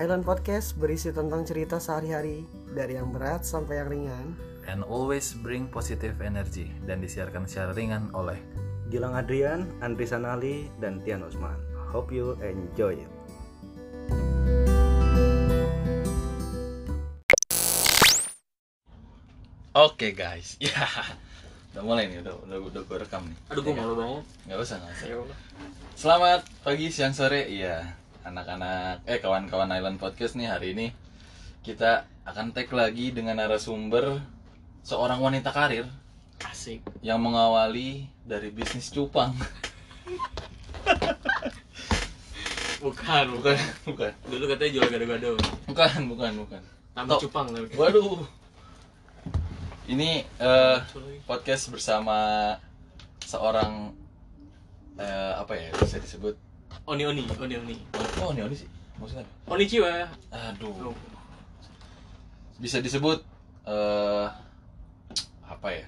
Island Podcast berisi tentang cerita sehari-hari dari yang berat sampai yang ringan. and always bring positive energy dan disiarkan secara ringan oleh Gilang Adrian, Andri Sanali, dan Tian Usman. Hope you enjoy it. Oke guys, ya udah mulai nih, udah udah, udah gue rekam nih. Aduh gue malu banget. Gak usah nggak usah. Ya Allah. Selamat pagi, siang, sore, iya anak-anak, eh kawan-kawan Island Podcast nih hari ini kita akan tag lagi dengan narasumber seorang wanita karir Asik. yang mengawali dari bisnis cupang. Bukan, bukan. Bukan, bukan, Dulu katanya jual gado-gado. bukan, bukan, bukan. Tambah Tok. cupang tapi. Waduh. Ini eh, podcast bersama seorang eh, apa ya bisa disebut Oni oni, oni oni. oh ini ini sih maksudnya apa? Oni ya? jiwa. aduh bisa disebut eh apa ya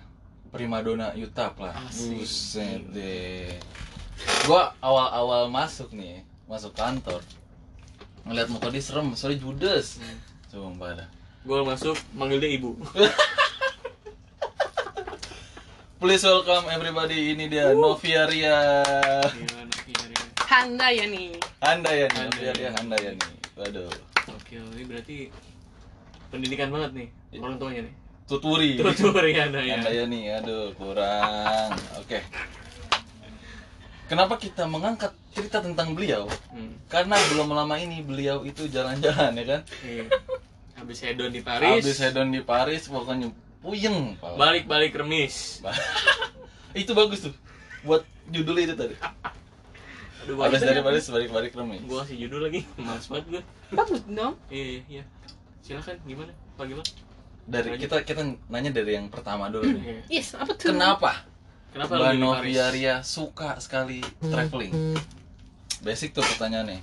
primadona Yutap lah Asik. buset deh gua awal-awal masuk nih masuk kantor ngeliat muka dia serem soalnya judes sumpah dah Gue masuk manggil dia ibu. please welcome everybody ini dia Novia Ria Iya, anak kiri. Handa ya nih. Anda ya nih, Handayani. Novia Ria Anda ya nih waduh Oke, ini berarti pendidikan banget nih orang tuanya nih. tuturi Tutur Riana ya. Anda ya nih, aduh kurang. Oke. Kenapa kita mengangkat cerita tentang beliau? Hmm, Karena belum lama ini beliau itu jalan-jalan ya kan. Iya. Habis hedon di Paris. Habis hedon di Paris pokoknya puyeng. Pak. Balik-balik remis. Ba- itu bagus tuh. Buat judul itu tadi. Aduh, Habis barusan dari ya. Paris balik-balik remis. Gua kasih judul lagi. Males banget gue. Bagus dong. Iya, iya, iya. Silakan gimana? Pak gimana? Dari kita kita nanya dari yang pertama dulu nih. Iya. Yes, apa tuh? Kenapa Kenapa Mbak lu di Paris? Novia Ria suka sekali traveling? Basic tuh pertanyaannya.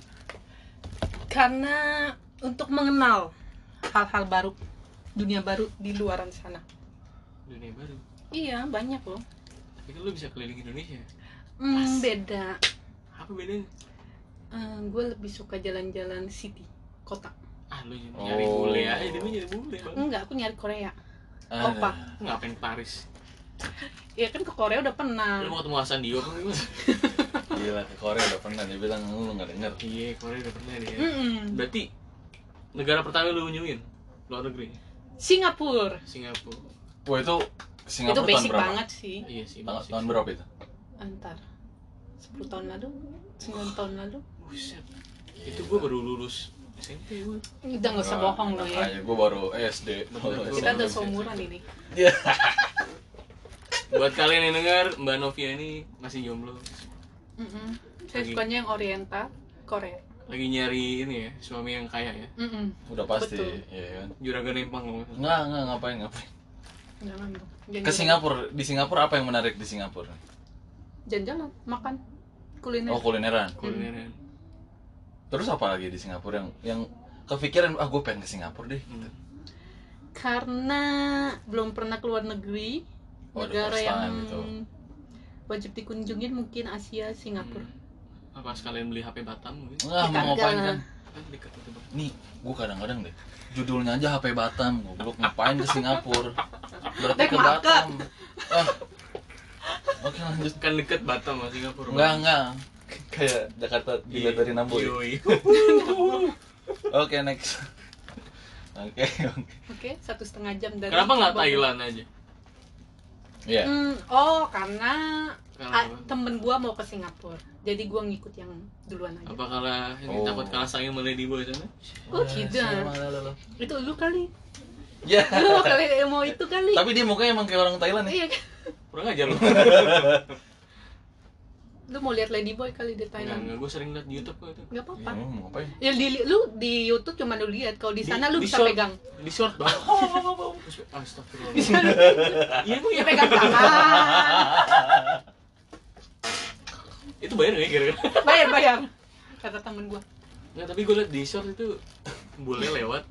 Karena untuk mengenal hal-hal baru, dunia baru di luaran sana. Dunia baru. Iya, banyak loh. Tapi kan lu bisa keliling Indonesia. Hmm, beda. Apa bedanya? gue lebih suka jalan-jalan city, kota. Ah, lu nyari Oh. bule aja, dia nyari bule. Bang. Enggak, aku nyari Korea. Ah, Opa. Ngapain ke Paris? Iya kan ke Korea udah pernah. Hmm. Lu mau ketemu Hasan Dio kan gimana? Gila ke Korea udah pernah dia bilang lu nggak denger. Iya, Korea udah pernah dia. Mm-mm. Berarti negara pertama lu kunjungin luar negeri Singapura. Singapura. Wah itu itu Singapura tahun basic berapa? banget sih. Iya sih. Tahun, masih. tahun berapa itu? Antar 10 tahun lalu, 9 tahun lalu. Buset. Itu gua baru lulus SMP gua. Udah nggak Oh, usah bohong lo ya. Aja gue nah, iya, baru SD. Bener, Kita gua- udah seumuran ini. Iya. Buat kalian yang dengar, Mbak Novia ini masih jomblo. Mm-mm. Saya Lagi- sukanya yang oriental, Korea. Lagi nyari ini ya, suami yang kaya ya. Mm-mm. Udah pasti. Betul. Iya kan. Juragan Empang loh. Nggak nggak ngapain ngapain. Jangan dong. Jangan Ke Singapura di Singapura apa yang menarik di Singapura? Jalan-jalan, makan, kuliner. Oh kulineran. Kulineran. Terus apa lagi di Singapura yang yang kepikiran ah gue pengen ke Singapura deh. Hmm. Karena belum pernah keluar negeri, Oh, the negara first yang time itu. wajib dikunjungin mungkin Asia, Singapura. Hmm. Apa sekalian beli HP Batam gitu? mungkin? Nggak Ya, mau ngapain kagak. kan? Kan dekat itu Bang. Nih, gue kadang-kadang deh judulnya aja HP Batam, goblok ngapain ke Singapura? Berarti Black ke market. Batam. Ah. Oke lanjut. Kan dekat Batam sama Singapura. Enggak enggak. Iya. Kayak Jakarta dilihat dari Namboy. Yoi. ya? Oke next. Oke oke. Oke, satu setengah jam dari. Kenapa nggak Bangkok. Thailand aja? Iya. Hmm, oh, karena ah, Kenapa? temen gua mau ke Singapura, jadi gua ngikut yang duluan aja. Apa kalah ini Oh. takut kalah sayang sama Lady Boy sana? Oh, Iya, tidak. Itu lu kali, Ya. lu kali mau itu kali. Tapi dia mukanya emang kayak orang Thailand ya. Iya kan? Kurang ajar lu. Lu mau lihat Ladyboy kali di Enggak, Thailand? enggak gue sering liat di YouTube gua itu. Gak Iya, apa-apa. emang mau ngapain? Ya di, lu di YouTube cuma lu lihat, kalau di sana Di- lu di bisa short. pegang. Di short banget. Astagfirullah. Bisa lu Iya gua ya ya. pegang tangan. Itu bayar enggak ya kira-kira? Bayar bayar. Kata temen gua. Enggak, tapi gue liat di short itu bule lewat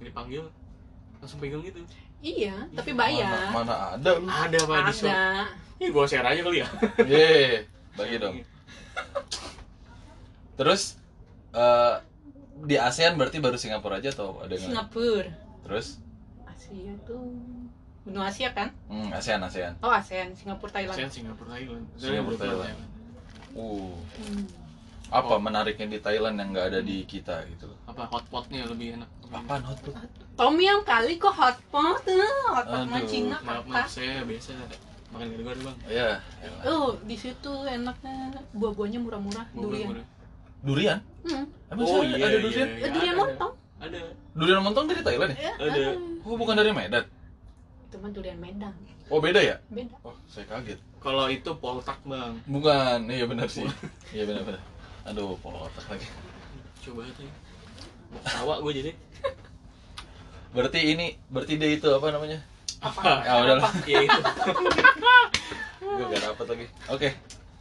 dipanggil langsung pegang gitu. Iya, tapi Mana, bayar. mana ada lu? Ada apa di short? Ada. Ini gue share aja kali ya. Ye, bagi dong. Terus eh di ASEAN berarti baru Singapura aja atau ada yang lain? Singapura Terus Asia tuh benua Asia kan hmm, ASEAN ASEAN. oh ASEAN Singapura Thailand ASEAN Singapura Thailand Singapura, Thailand. Uh, Hmm. apa Oh. menariknya di Thailand yang nggak ada di kita gitu? apa hotpotnya lebih enak Apaan hotpot? Tom Yum kali kok hot pot eh, hot pot mah Aduh, Cina maaf apa maaf saya biasa makan di luar bang Ya. oh di situ enaknya buah-buahnya murah-murah Bubur durian murah. Durian? hmm. Emang Oh, sih iya, ada iya. durian? eh, durian ada. lontong ada Durian montong dari Thailand ya? Eh, Ada. eh. Oh, bukan dari Medan. itu mah durian Medan Oh, beda ya? beda Oh, saya kaget. kalau itu poltak bang Bukan, iya benar sih. Iya benar benar. Aduh, pola otak lagi. coba tuh mau ketawa gue jadi Berarti ini, berarti dia itu apa namanya? apa Ya udahlah, ya itu gue gak dapet lagi. Oke,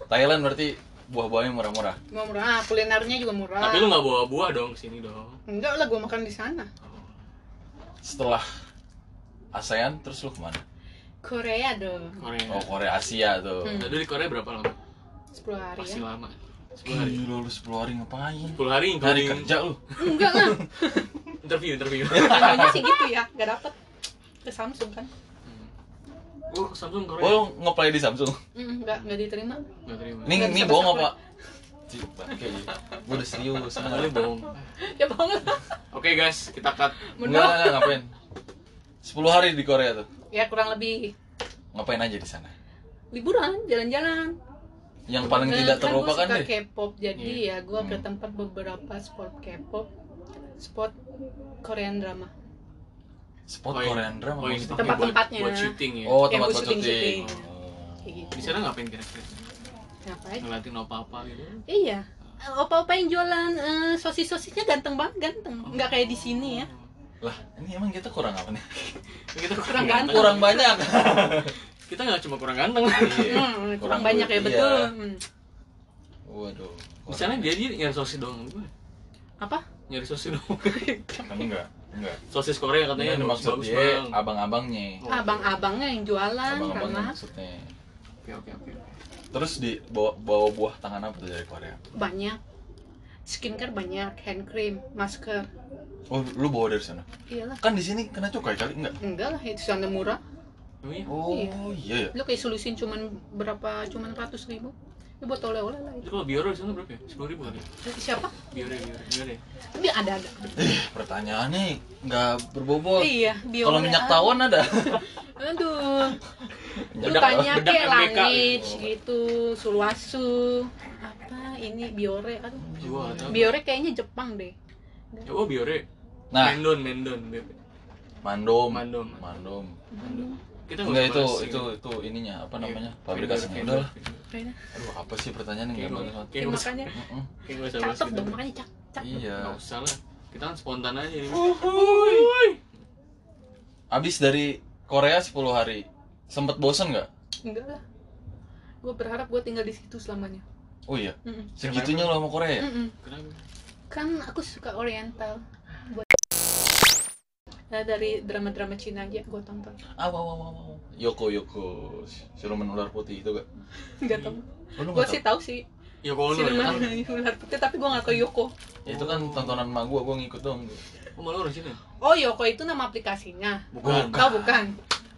Thailand berarti buah-buahnya murah-murah. murah Ah, kulinernya juga murah tapi lu nggak bawa buah dong ke sini dong enggak lah gua makan di sana Setelah ASEAN, terus lu kemana? Korea dong Korea Oh, Korea Asia tuh. Hmm. Tadi di Korea berapa lama 10 hari pasti ya lama sepuluh hari Gila lu 10 hari ngapain? sepuluh hari Hari including kerja Iya. lu. enggak lah interview interview Contohnya sih gitu ya, gak dapet ke Samsung kan? gue ke Samsung Oh, Korea lu ngeplay di Samsung. Mm, nggak nggak diterima. nggak terima Nih, Nggak nih bisa bohong besok, apa? Cih, bangke. Gue udah serius. Nah, lu Enggak, bohong Ya bohong lah. oke guys kita cut enggak, Menurut enggak, ngapain? 10 hari di Korea tuh. ya kurang lebih Ngapain aja di sana? liburan, jalan-jalan. Yang paling Nah, tidak kan gua terlupakan suka deh. K-pop, jadi ya gua ke Hmm. tempat beberapa spot K-pop, spot Korean drama. Spot Poin- Korean drama. poin maksudnya. dipakai buat- Tempat-tempatnya. buat syuting ya Oh, Yang tempat buat buat syuting. syuting-syuting. Oh. Kayak gitu. di sana ngapain kira-kira Ngapain? ngeliatin apa apa gitu Iya. Eh, Opa-opa yang jualan eh, sosis-sosisnya ganteng banget, ganteng. Nggak kayak di sini ya. Lah, ini emang kita kurang apa nih? Iya. kita Kan Kurang kurang ganteng. ganteng Kurang banyak. kita nggak cuma kurang ganteng Iya. Hmm, kurang, Kurang banyak duit, ya iya. betul. Hmm. Waduh. di sana dia dia nyari sosis doang gue Apa? nyari sosis doang Kan enggak, enggak. sosis Korea katanya Ini bagus Iya, maksud bagus dia bang abang-abangnya. Oh. Abang-abangnya yang jualan Kan, karena Abang-abangnya maksudnya. oke oke oke Terus di bawa, bawa buah tangan apa tuh dari Korea? banyak skincare banyak hand cream masker Oh, lu bawa dari sana. iyalah Kan di sini kena cukai kali enggak? enggak lah itu sana murah Oh iya. Oh, Iya. iya ya. lu kayak solusin cuman berapa cuman ratus ribu lu buat oleh-oleh lah itu Itu kalau biore di sana berapa ya? Sepuluh ribu kali. ya? Dari siapa Biore, biore, biore. dia ada ada Eh, pertanyaannya nggak berbobot. iya bio Oh, Kalau minyak tawon ada. aduh lu Bedak- tanya bedak ke MBK. langit gitu sulwasu apa ini biore aduh Gua nggak tahu. biore kayaknya Jepang deh Ya, Oh biore. Nah, Mendon, mendon. Beb. mandom. Mandom. Mandom. Kita nggak Enggak itu bahas sih. itu itu ininya apa Iya. namanya? Vendor, Pabrikasinya vendor, udah lah. vendor. kayaknya Aduh, apa sih pertanyaan Kayak yang gua- enggak banget? kayak Ya, gua- makanya Mm-mm. kayak gua usah bahas cakep gitu. dong makanya cak cakep Iya. Uh. Nggak usah lah. Kita kan spontan aja ini. Abis dari Korea 10 hari. Sempet bosen nggak? enggak lah gue berharap gue tinggal di situ selamanya Oh iya, Mm-mm. segitunya lo sama Korea ya? Mm-mm. Kenapa? kan aku suka oriental buat Nah, dari drama-drama Cina aja gue tonton Ah, wow, wow, wow, wow. Yoko, Yoko. Siluman ular putih itu gak? nggak tahu Oh, lu gue nggak sih tahu Oh, sih Ya kalau lu ya. siluman ular putih tapi gue nggak tahu Yoko tahu? Itu kan tontonan emak gua, gua ngikut dong. Oh malu orang sini. oh Yoko itu nama aplikasinya Bukan. tau bukan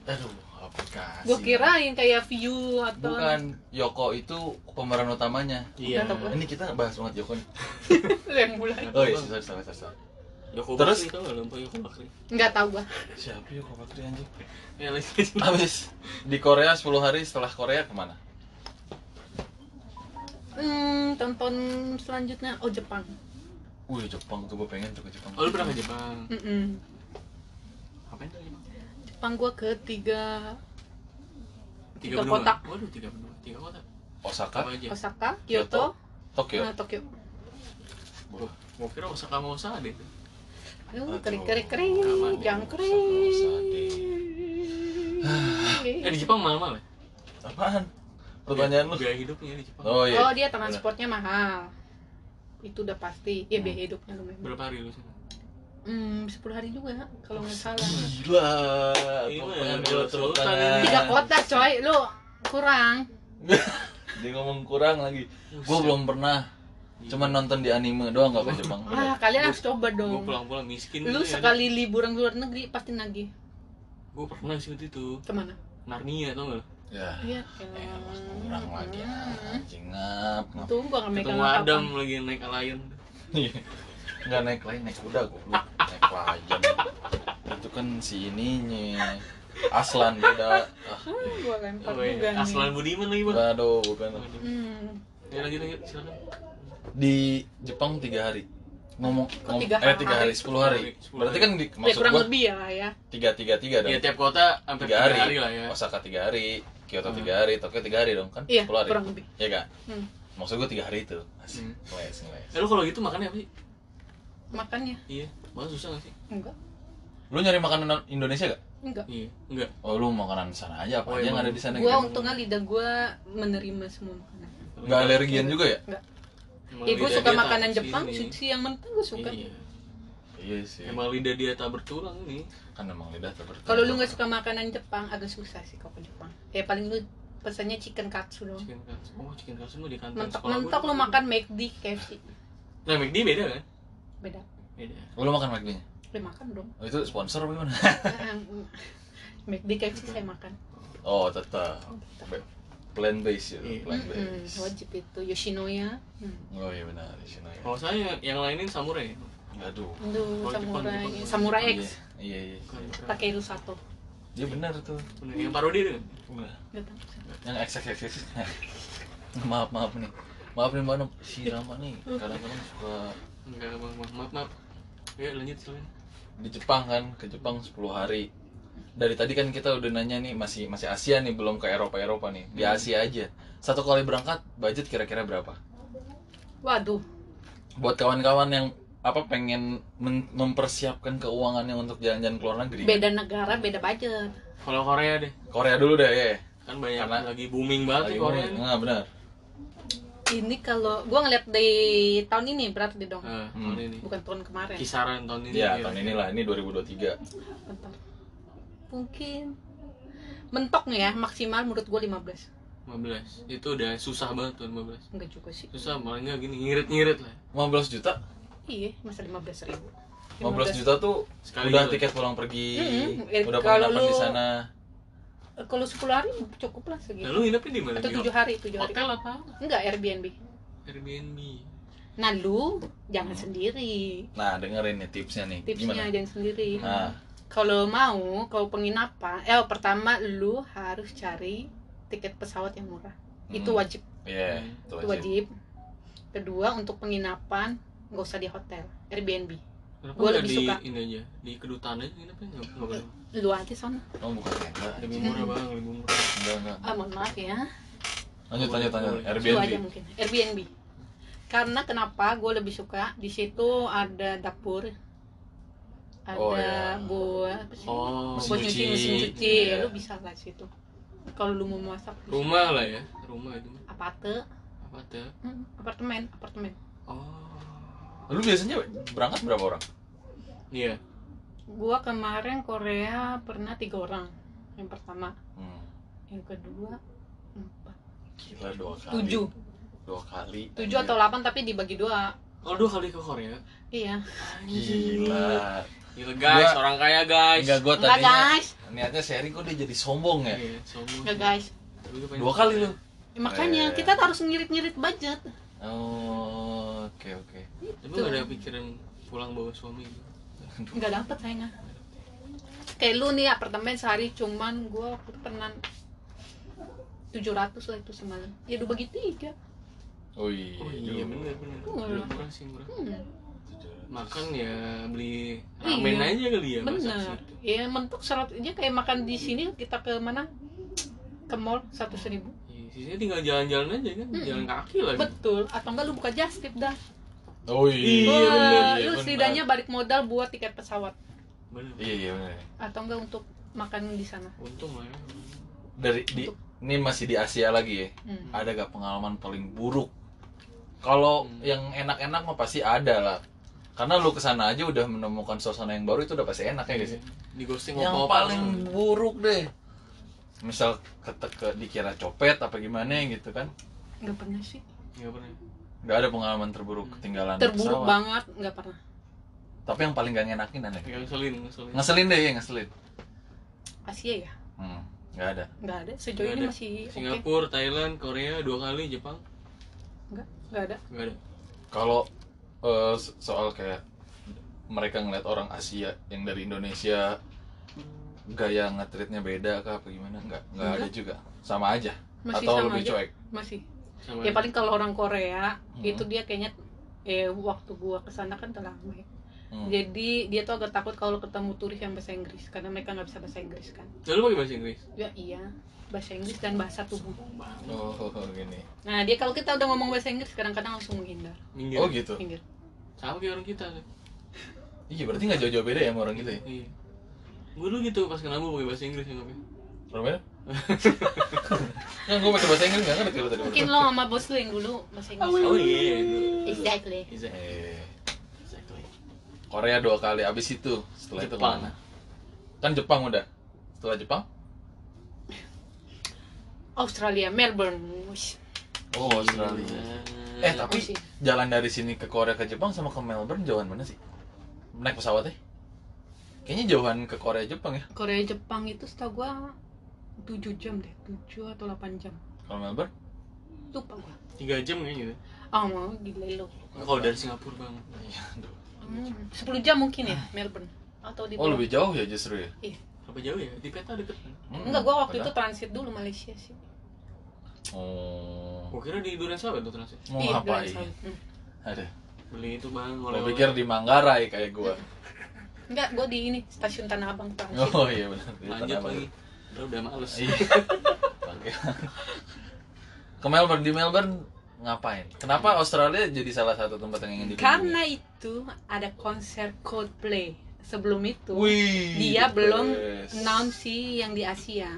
Aduh, aplikasi. gue kirain kayak view atau Bukan, Yoko itu pemeran utamanya. Iya. Nggak tahu Ini kita bahas banget Yoko nih. yang bulan Oh iya, sorry, sorry, sorry, sorry. Terus? Yoko Terus? Bakri tau nggak lupa Yoko Bakri? nggak tahu gue Siapa Yoko Bakri anjing? Ya lagi. Abis di Korea 10 hari setelah Korea kemana? hmm, tonton selanjutnya oh Jepang Wih, Jepang tuh gua pengen tuh ke Jepang. Oh lu pernah ke Jepang? Mm-mm. Ngapain tuh Jepang? Jepang gue ke tiga Tiga benua. kota. Waduh tiga benua. Tiga kota. Apa Osaka, aja? Osaka Kyoto, Tokyo. nah, Tokyo Gua kira Osaka mau Osaka deh. Aduh, Ah, Aduh. kering kering kering, Kapan? jangan Usah, kering. deh. Ah. Eh di Jepang mahal-mahal ya? Apaan? Pertanyaan lu. Biaya hidupnya di Jepang. Oh Oh iya. dia transportnya mahal, itu udah pasti. Hmm. Ya biaya hidupnya lumayan. Berapa hari lu sini? Hmm, 10 hari juga kalau nggak salah. Gila. Ini Tepuk mah tangan gila dulu, tepuk sultan tangan. ini. Tiga kota coy, lu kurang. Dia ngomong kurang lagi. Gue Buset. belum pernah Cuman nonton di anime doang nggak ke Jepang. ah kalian harus coba gue dong pulang-pulang miskin lu gitu ya. sekali liburan ke luar negeri pasti nagih gue pernah sih waktu itu kemana Narnia tau gak Ya. iya Eh, kurang lagi anjing ngap ngap. tuh gua nggak megang ketemu apa Adam lagi naik Alien Iya. Nggak naik lain naik kuda goblok. Naik wajan. Itu kan si ininya. Aslan beda. Ah, gua lempar Oh, iya. juga nih Aslan Budiman lagi bang aduh bukan. hmm. ya lanjut lanjut silakan Di Jepang tiga hari. Ngomong, ngom- Oh, tiga eh tiga hari? hari sepuluh hari. Sepuluh Berarti hari. kan di, ya maksud kurang gua lebih ya ya tiga tiga tiga dong. ya tiap kota hampir tiga hari. lah ya Osaka tiga hari, Kyoto tiga hari, Tokyo tiga hari dong kan? iya Sepuluh ya. hari. kurang lebih Iya kan? Hmm. Maksud gue tiga hari itu. Asik. Hmm. Ngeles, ngeles. eh lu kalau gitu makannya apa sih makannya iya makan susah gak sih enggak Lu nyari makanan Indonesia gak? enggak iya enggak Oh lu makanan di sana aja, apa Oh, aja yang emang. ada di sana gua gitu? untungnya lidah gua menerima semua makanan Gak alergian juga ya? Emang ya gua lidah dia suka tak makanan kesini. Jepang sushi yang mentah gua suka Iya. Iya sih Emang lidah dia tak bertulang nih. Kan emang lidah terbertemu Kalau lu nggak suka makanan Jepang, agak susah sih kalau ke Jepang. Ya paling lu pesannya chicken katsu doang. Chicken katsu. Oh, chicken katsu mah di kantin sekolah gua Mentok-mentok dulu. lu makan McD, KFC. Nah, McD beda kan? Beda. Beda. Oh, Lu makan McD nya? Lu makan dong. Oh, itu sponsor apa gimana? Ah, McD, KFC saya makan. oh tetep Plan based ya Iya. Plan Mm-mm, based wajib itu Yoshinoya. Hmm. Oh iya benar di sana ya Kalau saya yang lainin samurai. Aduh Kalau Oh, Aduh, Jepang, samurai, Jepang. samurai Iya X. Iya iya Bukan, bukan. Takeru Sato. Dia benar tuh Bener, Yang parodi itu. kan? Nggak tahu. Yang X X X X Maaf maaf nih Maaf nih Mbak Nom Si Rama nih Mm. kadang-kadang suka Enggak, Bang. Maaf, maaf. maaf. Ya, lanjut silakan. di Jepang kan ke Jepang 10 hari dari tadi kan kita udah nanya nih masih masih Asia nih belum ke Eropa Eropa nih di Asia aja satu kali berangkat budget kira-kira berapa Waduh, buat kawan-kawan yang apa pengen men- mempersiapkan keuangannya untuk jalan-jalan ke luar Iya. negeri beda negara, beda budget. Kalau Korea deh, Korea dulu deh ya kan banyak Karena- lagi booming banget nih Korea. nih. nah, benar Ini kalau gua ngeliat di tahun ini berarti dong. Ah, Hmm. tahun ini. Bukan tahun kemarin. Kisaran tahun ini. ya tahun inilah ini 2023 Bentar. Mungkin mentok nih ya maksimal menurut gue 15 15. Itu udah susah banget tahun 15. enggak juga sih Susah, malah enggak gini ngirit-ngirit lah. 15 juta iya masa 15 ribu 15 juta tuh Sekali udah gitu. tiket pulang pergi Mm-mm. Eh, udah kalau penginapan di lu- sana kalau 10 hari cukup lah Iya, Nah, segitu lu nginepnya di mana? atau Di 7 hari 7 hari hotel apa? enggak Airbnb Airbnb. nah lu jangan sendiri nah dengerin nih tipsnya nih tipsnya Hmm. gimana jangan sendiri nah kalau mau kalau penginapan eh pertama lu harus cari tiket pesawat yang murah itu Hmm. wajib Iya, Hmm. itu itu wajib. wajib kedua untuk penginapan nggak usah di hotel Airbnb Kenapa Gua nggak lebih di suka. Iya. ini aja di kedutaan aja nginepnya nggak nggak boleh. lu aja sana Oh bukan tenda. Lebih murah bang, lebih murah. Enggak, enggak. ah mohon maaf ya Lanjut, lanjut, lanjut. Itu aja Airbnb. mungkin Airbnb karena kenapa gue lebih suka di situ ada dapur ada Oh, iya. buat apa sih? Oh, buat Mesin nyuci cuci. mesin cuci Iya. ya lu bisa lah situ kalau lu mau masak lu rumah lah ya, rumah itu mah. aparte apa tuh? Hmm, apartemen apartemen Oh, Lu biasanya berangkat berapa orang? iya. gua kemarin Korea pernah tiga orang yang pertama Hmm. yang kedua empat Gila dua kali. tujuh Dua kali. tujuh atau delapan tapi dibagi dua Kalau dua kali ke Korea, iya Gila. gila guys, Gua- orang kaya guys. Enggak gua enggak tadinya. guys Niatnya sharing kok dia jadi sombong ya. Iya, sombong. enggak guys Tapi gua pengen- Dua kali lu. Ya, makanya Eh. kita harus ngirit-ngirit budget Oh, oke oke. Tapi gak ada pikiran pulang bawa suami. gitu. nggak dapet sayangnya kayak lu nih apartemen sehari cuman gue waktu itu pernah 700 lah itu semalam ya udah bagi tiga Oh iya. Oh iya, bener bener. Murah. Udah murah sih murah. hmm, Makan ya beli ramen Iya. aja kali ya. masak bener situ. ya mentok syarat aja kayak makan di sini kita ke mana ke mall satu seribu Iya, sisanya tinggal jalan-jalan aja kan, Mm-mm. jalan kaki Iya. lagi. betul atau enggak lu buka just tip dah Oh iya. Wah, bener, iya, lu bener. setidaknya balik modal buat tiket pesawat Bener. Iya iya bener. atau enggak untuk makan di sana Untung lah ya. Dari di ini masih di Asia lagi ya. Hmm. ada gak pengalaman paling buruk? Kalau Hmm. yang enak-enak mah pasti ada lah. Karena lu kesana aja udah menemukan suasana yang baru itu udah pasti enak ya guys. ya? Di ghosting Yang opo-opo. paling buruk deh. Misal ketek dikira copet apa gimana gitu kan? nggak pernah sih Nggak pernah. nggak ada pengalaman terburuk ketinggalan Hmm. terburuk pesawat. banget nggak pernah tapi yang paling gak ngenakin ada nggak? Nggak ngeselin, ngeselin. ngeselin deh ya ngeselin Asia ya hmm, nggak ada nggak ada Nggak sejauh ini ada. masih oke Singapura, Thailand, Korea dua kali, Jepang nggak nggak ada nggak ada. kalau eh, so- soal kayak mereka ngeliat orang Asia yang dari Indonesia gaya ngetritnya beda kah apa gimana nggak nggak ada juga sama aja masih atau sama lebih aja cuek masih Sama aja. ya paling kalau orang Korea Hmm. itu dia kayaknya eh waktu gua kesana kan udah lama ya. Hmm. Jadi dia tuh agak takut kalau ketemu turis yang bahasa Inggris karena mereka nggak bisa bahasa Inggris kan. Nah, lu pakai bahasa Inggris? Ya iya, bahasa Inggris dan bahasa tubuh. oh gini Nah dia kalau kita udah ngomong bahasa Inggris kadang-kadang langsung menghindar. Minggir. oh gitu Minggir. Sama kayak orang kita. iya berarti nggak jauh-jauh beda ya sama orang gitu ya Iya. Gue dulu gitu pas kenal gue pakai bahasa Inggris yang Romel kan gue pakai bahasa Inggris nggak ngerti lo tadi Mungkin lo sama bos lo yang dulu bahasa Inggris. Oh iya. Exactly. Exactly. Eh, Exactly. Korea dua kali abis itu setelah Jepang. itu kemana kan Jepang udah setelah Jepang Australia, Melbourne. Wish. oh Australia Eh tapi Masih. jalan dari sini ke Korea ke Jepang sama ke Melbourne jauhan mana sih? Naik pesawatnya? Kayaknya jauhan ke Korea Jepang ya Korea Jepang itu setahu gua 7 jam deh, 7 atau 8 jam. kalau Melbourne. Lupa gua. tiga jam kayaknya gitu. Nah, Ah mau gila lo. Kalau dari Singapura bang. Iya, aduh. Hmm, 10 jam mungkin ya Melbourne atau di Oh bawah. lebih jauh ya justru ya? Apa jauh ya? Di peta deket. Hmm, Enggak, gua waktu itu padahal. transit dulu Malaysia sih. Oh, Gue kira di Duren Sawit tuh transit. mau Iya, ngapain? Durensawit. Hmm. Ada. Beli itu bang. Gua pikir di Manggarai kayak gua. Enggak, gue di ini stasiun Tanah Abang transit. Oh iya benar. Di lanjut Tanah Abang. lagi. Udah udah males. Iya. Oke. Ke Melbourne di Melbourne ngapain? Kenapa Australia jadi salah satu tempat yang ingin dikunjungi? Karena itu ada konser Coldplay. Sebelum itu Wih, dia the belum best. announce sih yang di Asia.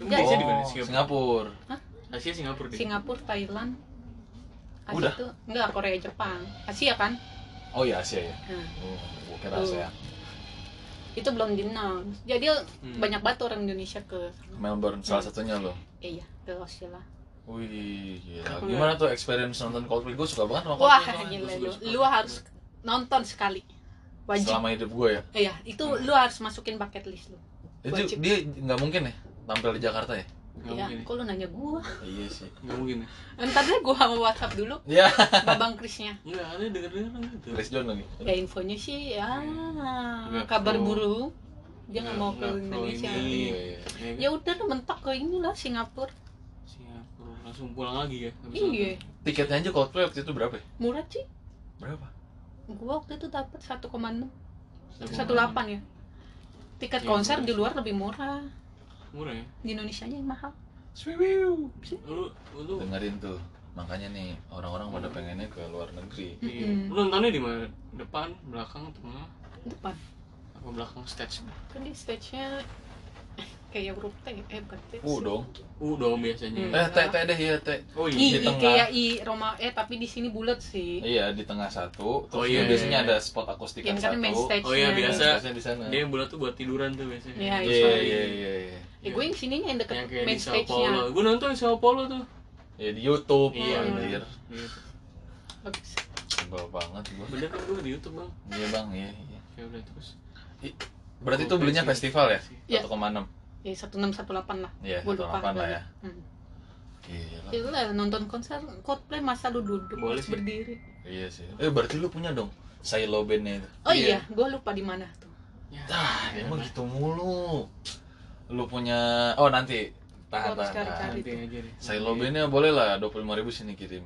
Emang Asia di mana? Oh, Singapura. Singapura. Asia Singapura deh. Singapura, Thailand, Asia Udah? itu enggak Korea, Jepang. Asia kan? Oh iya Asia ya. Nah, Hmm, gua kira Tuh. Asia. itu belum di announce. Jadi Hmm. banyak banget orang Indonesia ke sana. Melbourne salah satunya loh. Eh, iya, ke Australia. Wih, gila. Aku Gimana tuh experience nonton Coldplay? Gue suka Oh, banget sama Wah, Coldplay. soalnya. gila suka, lu. suka. Lu harus nonton sekali. Wajib. Selama hidup gue ya. Iya, itu Hmm. lu harus masukin bucket list lu. Itu Wajib. dia nggak mungkin ya tampil di Jakarta ya? Nggak Iya, mungkin. ya. kok lu nanya gua? Iya sih. Nggak mungkin ya. Ntar deh gua sama WhatsApp dulu Ya, Babang Krisnya. Nggak ada denger denger gitu. Chris John lagi. Ya infonya sih ya Nggak kabar pro. buruk. Dia nggak Nggak- mau ke nggak pro Indonesia. ini. Iya, iya. Ya, Ya udah lu mentok ke inilah Singapura. Singapura langsung pulang lagi ya. habis Iya, Tiketnya aja Coldplay waktu itu berapa ya? murah sih. Berapa? Gua waktu itu dapat 1,6 nonton. 18 ya. Tiket Iya, konser murah di sih. luar lebih murah. Murah ya. Di Indonesia aja yang mahal. Swiwiu. Lu lu Dengerin tuh. Makanya nih orang-orang pada pengennya ke luar negeri. Iya. Mm-mm. Lu nontonnya di mana? Depan, belakang, tengah, Depan. apa belakang stage? Kan di stage-nya kayak huruf T, eh bukan T. Uh sih. dong. U dong biasanya. Hmm. Eh, teh teh deh ya teh. Oh Di I, I tengah. kayak I Roma eh tapi di sini bulat sih. Iya di tengah satu. Terus Oh, iya, dia biasanya iya. ada spot akustikan Yang kan satu. main stage. Oh iya biasa. Biasanya di sana. Dia yang bulat tuh buat tiduran tuh biasanya. Iya, Iya sorry. iya iya. iya. Ya, gue yang sininya yang deket Yang kayak di main Sao stage-nya. Paulo. Gue nonton di Sao Paulo tuh. Ya di YouTube. Iya. anjir. Gitu. Bagus. Sebel banget gua. Bener kan gue di YouTube bang. Iya bang, iya. iya. Ya udah terus. Berarti itu belinya festival ya? Iya. Satu koma enam. Ya 1618 lah. Iya, Gua satu delapan lah ya. Hmm. Gila. Ya lah, nonton konser Coldplay masa lu duduk Boleh sih. harus berdiri. Iya sih. Eh berarti lu punya dong silo bandnya itu. Oh Iya. iya, gue lupa di mana tuh. Ya. Ah, dia mah gitu mulu. Lu punya, oh nanti tahan Gua harus tahan. tahan. cari-cari. Nanti aja deh. Silo bandnya boleh lah, dua puluh ribu sini kirim.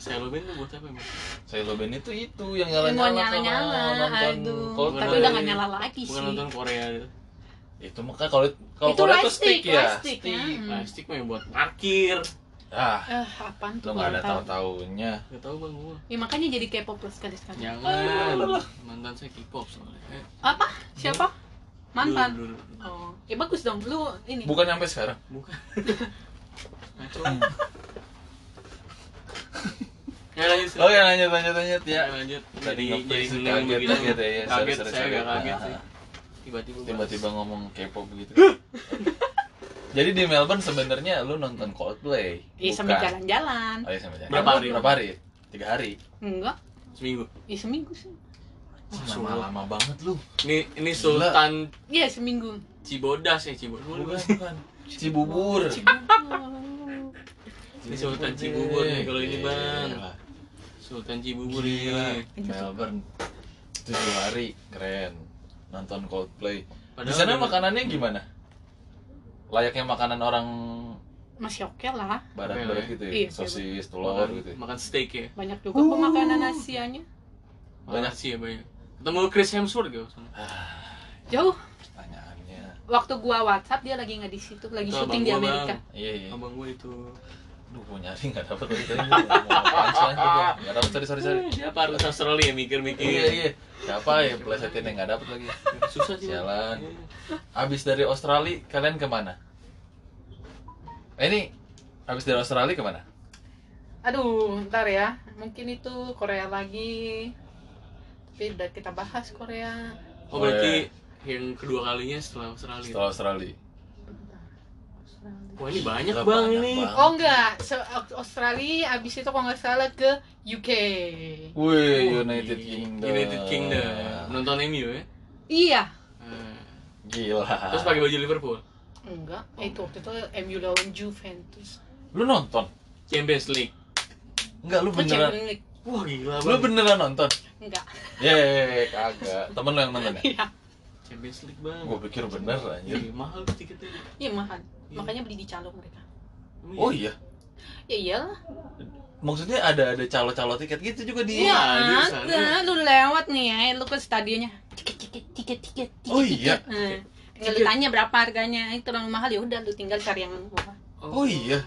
Saya lo tuh buat apa bang? Silo band itu itu yang nyala Yang mau nyala nyala-nyala, aduh. Coldplay. Tapi udah gak nyala lagi Bukan sih. nonton Korea itu. Itu mah kan kalau kalau Itu Korea itu lightstick, stick ya. lightstick, Stick. ya. Hmm. Plastik mah yang buat parkir. Ah, Eh, apaan lu tuh? nggak baru ada tahu. tahu tahunya. Gak tau bang gue. Ya makanya jadi K-pop plus sekali sekali. Jangan. Mantan saya K-pop soalnya. Eh, Apa? Siapa? Mantan. dulu, dulu. Oh, ya bagus dong. Lu ini. Bukan sampai sekarang. Bukan. Ngaco. Hmm. ya lanjut. Oh ya lanjut lanjut lanjut ya. Ya, lanjut. Tadi Jadi- ngeplay jadi sih, seneng kaget, begitu. kaget ya, ya. Sorry, Kaget, sorry, saya sorry. nggak kaget Ah, sih. ah. Tiba-tiba. tiba-tiba ngomong K-pop gitu. Jadi di Melbourne sebenarnya lu nonton Coldplay. Ya bukan? sambil jalan-jalan. Oh, iya, sambil jalan. Berapa hari? Berapa hari? tiga hari Enggak, seminggu ya seminggu sih. Wah, lama seminggu. lama banget lu ini ini Sultan Iya seminggu. Cibodas ya Cibodas bukan bukan Cibubur Cibubur. Ini Sultan Cibubur nih kalau ini, Bang. Gila. Sultan Cibubur Gila, ini Melbourne tujuh hari keren nonton Coldplay. Di Padahal sana dengan- makanannya gimana? Layaknya makanan orang Masih oke lah. barat-barat gitu Iya, ya, iya, sosis, telur makan, gitu. ya. makan steak ya Banyak juga kok makanan Asianya. banyak sih ya banyak ketemu Chris Hemsworth gitu Jauh. Pertanyaannya, Waktu gua WhatsApp dia lagi nggak di situ, lagi Itu syuting abang di gua, Amerika. Bang. iya iya. abang gue itu Duh, gue nyari nggak dapet lagi tadi. Mau apaan sih anjir gua? Nggak dapet, sorry sorry sorry. siapa harus Australia ya mikir-mikir Iya iya. Siapa ya plesetin yang nggak dapet lagi? susah sih Bang. Sialan. Iya. Abis dari Australia kalian kemana? Eh, ini abis dari Australia kemana? Aduh, ntar ya. Mungkin itu Korea lagi. Tapi udah kita bahas Korea. oh berarti yang kedua kalinya setelah Australia Setelah Australia. wah ini banyak Gila, bang banyak ini banget. Oh enggak, Se- Australia abis itu kalau nggak salah ke UK. Wih, United Kingdom. United Kingdom menonton MU ya Iya. Eh, Gila. terus pakai baju Liverpool Enggak, eh, itu waktu itu MU lawan Juventus. Lu nonton? Champions League Enggak, lu Itu beneran. Champions League. wah gila Lu bang beneran nonton? Enggak. Ye, kagak. Temen lu yang nonton ya? Iya. Champions League bang Gue pikir bener anjir. Iya, mahal tuh tiketnya Iya mahal. Iya. Makanya beli di calo mereka. Emang Oh iya. Ya iyalah. Maksudnya ada ada calo-calo tiket gitu juga di. Iya, ada di sana. ada. Lu lewat nih ya, lu ke stadionnya. Tiket, tiket, tiket, tiket, tiket. Oh iya. tiket. Eh, Tinggal lu tanya berapa harganya, itu terlalu mahal ya udah lu tinggal cari yang murah. Oh iya.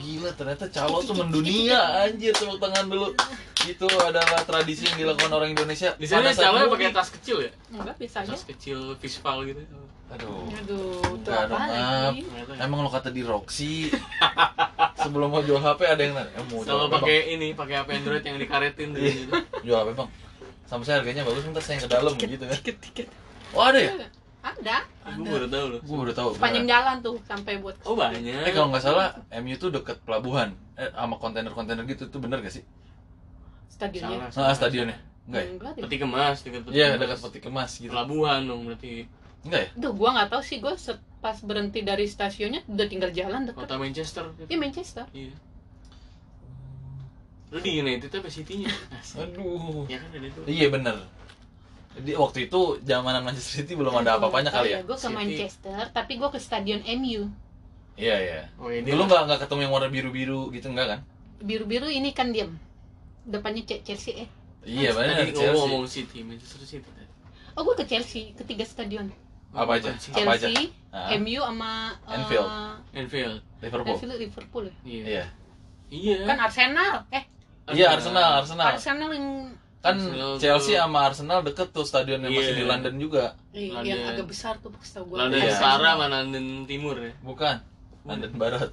Gila, ternyata calo tuh mendunia anjir tepuk tangan dulu. Itu adalah tradisi yang dilakukan orang Indonesia. di Pada sana saat calonnya mudik. pakai tas kecil ya Enggak biasa aja. tas kecil fishball gitu Aduh. Aduh, itu Enggak apa dong, Map. lagi? Ternyata ya. Emang lo kata di Roxy sebelum mau jual HP ada yang nanya, "Eh, mau Selalu jual apa, Bang?" pakai ini, pakai HP Android yang dikaretin tuh. gitu. Jual apa bang? Sama saya harganya bagus, ntar saya yang ke dalam gitu kan Tiket, tiket. Oh ada ya? Ada, Gue baru tahu loh. Gue udah tau panjang jalan tuh sampai buat Oh banyak. Eh kalau nggak salah, MU tuh deket pelabuhan eh, Sama kontainer-kontainer gitu, tuh bener gak sih? stadionnya. Nah, stadionnya? Enggak ya? Enggak deh. Peti kemas, dekat peti. Iya, kemas. dekat peti kemas gitu Hmm. Pelabuhan dong berarti. Enggak ya? Duh, gua nggak tahu sih, gua se- pas berhenti dari stasiunnya udah tinggal jalan deket. Kota Manchester. Iya Manchester. Iya. Lu di United apa City-nya? Asik. Aduh Ya kan ada itu. Oh, Iya bener Di, waktu itu zamanan Manchester City belum ada apa-apanya kali ya? Gue Iya, ke City. Manchester, tapi gue ke stadion MU. Iya, iya Oh, ini Dulu nggak nggak ketemu yang warna biru-biru gitu, enggak kan? Biru-biru ini kan diem. Depannya Ce- Chelsea eh. Iya, bener Tadi Chelsea. ngomong City, Manchester City. tadi. Oh gue ke Chelsea, ketiga stadion. Apa aja? Chelsea. Apa aja? Chelsea, Ah, MU sama eh, Anfield. Anfield. Liverpool Anfield Liverpool ya. Iya. Iya Iya. Kan Arsenal, eh Iya, Arsenal, Arsenal Arsenal yang kan Arsenal Chelsea tuh- sama Arsenal deket tuh stadion yang masih Iya. di London juga eh, London. yang agak besar tuh setahu gue. London Iya. Utara sama London Timur ya. bukan London Barat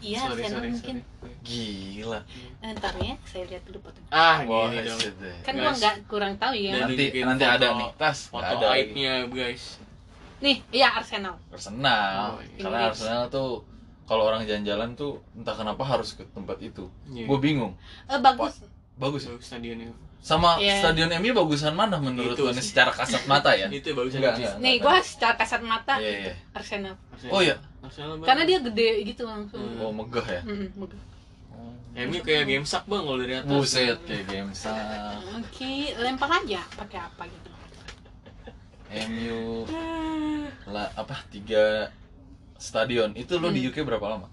iya Sorry, Arsenal sorry, mungkin. gila Eh, Ntar ya, saya lihat dulu fotonya. sorry. Ah, Wah, gini dong. headset deh. Kan gue Guys. nggak kurang tahu ya. Dan- nanti Bikin nanti foto- ada nih tas nggak Foto ada lagi. aibnya guys. Nih, iya Arsenal. Arsenal Oh, iya. karena Inggris. Arsenal tuh kalau orang jalan-jalan tuh entah kenapa harus ke tempat itu Iya. gue bingung Eh bagus. bagus ya? Bagus stadionnya. sama Iya. stadion MU bagusan mana menurut lo Itu nih sih. secara kasat mata ya Itu bagus Enggak, Inggris. enggak. Nih gue secara kasat mata iya iya Arsenal. Arsenal. Oh, iya. Arsenal, Bang. Karena dia gede gitu langsung. Hmm. oh megah ya Mm-mm, megah. MU kayak gamesak bang kalau dari atas. buset kayak game Oke, lempar aja pakai apa gitu. MU Eh, lah apa tiga stadion itu lo Hmm. di UK berapa lama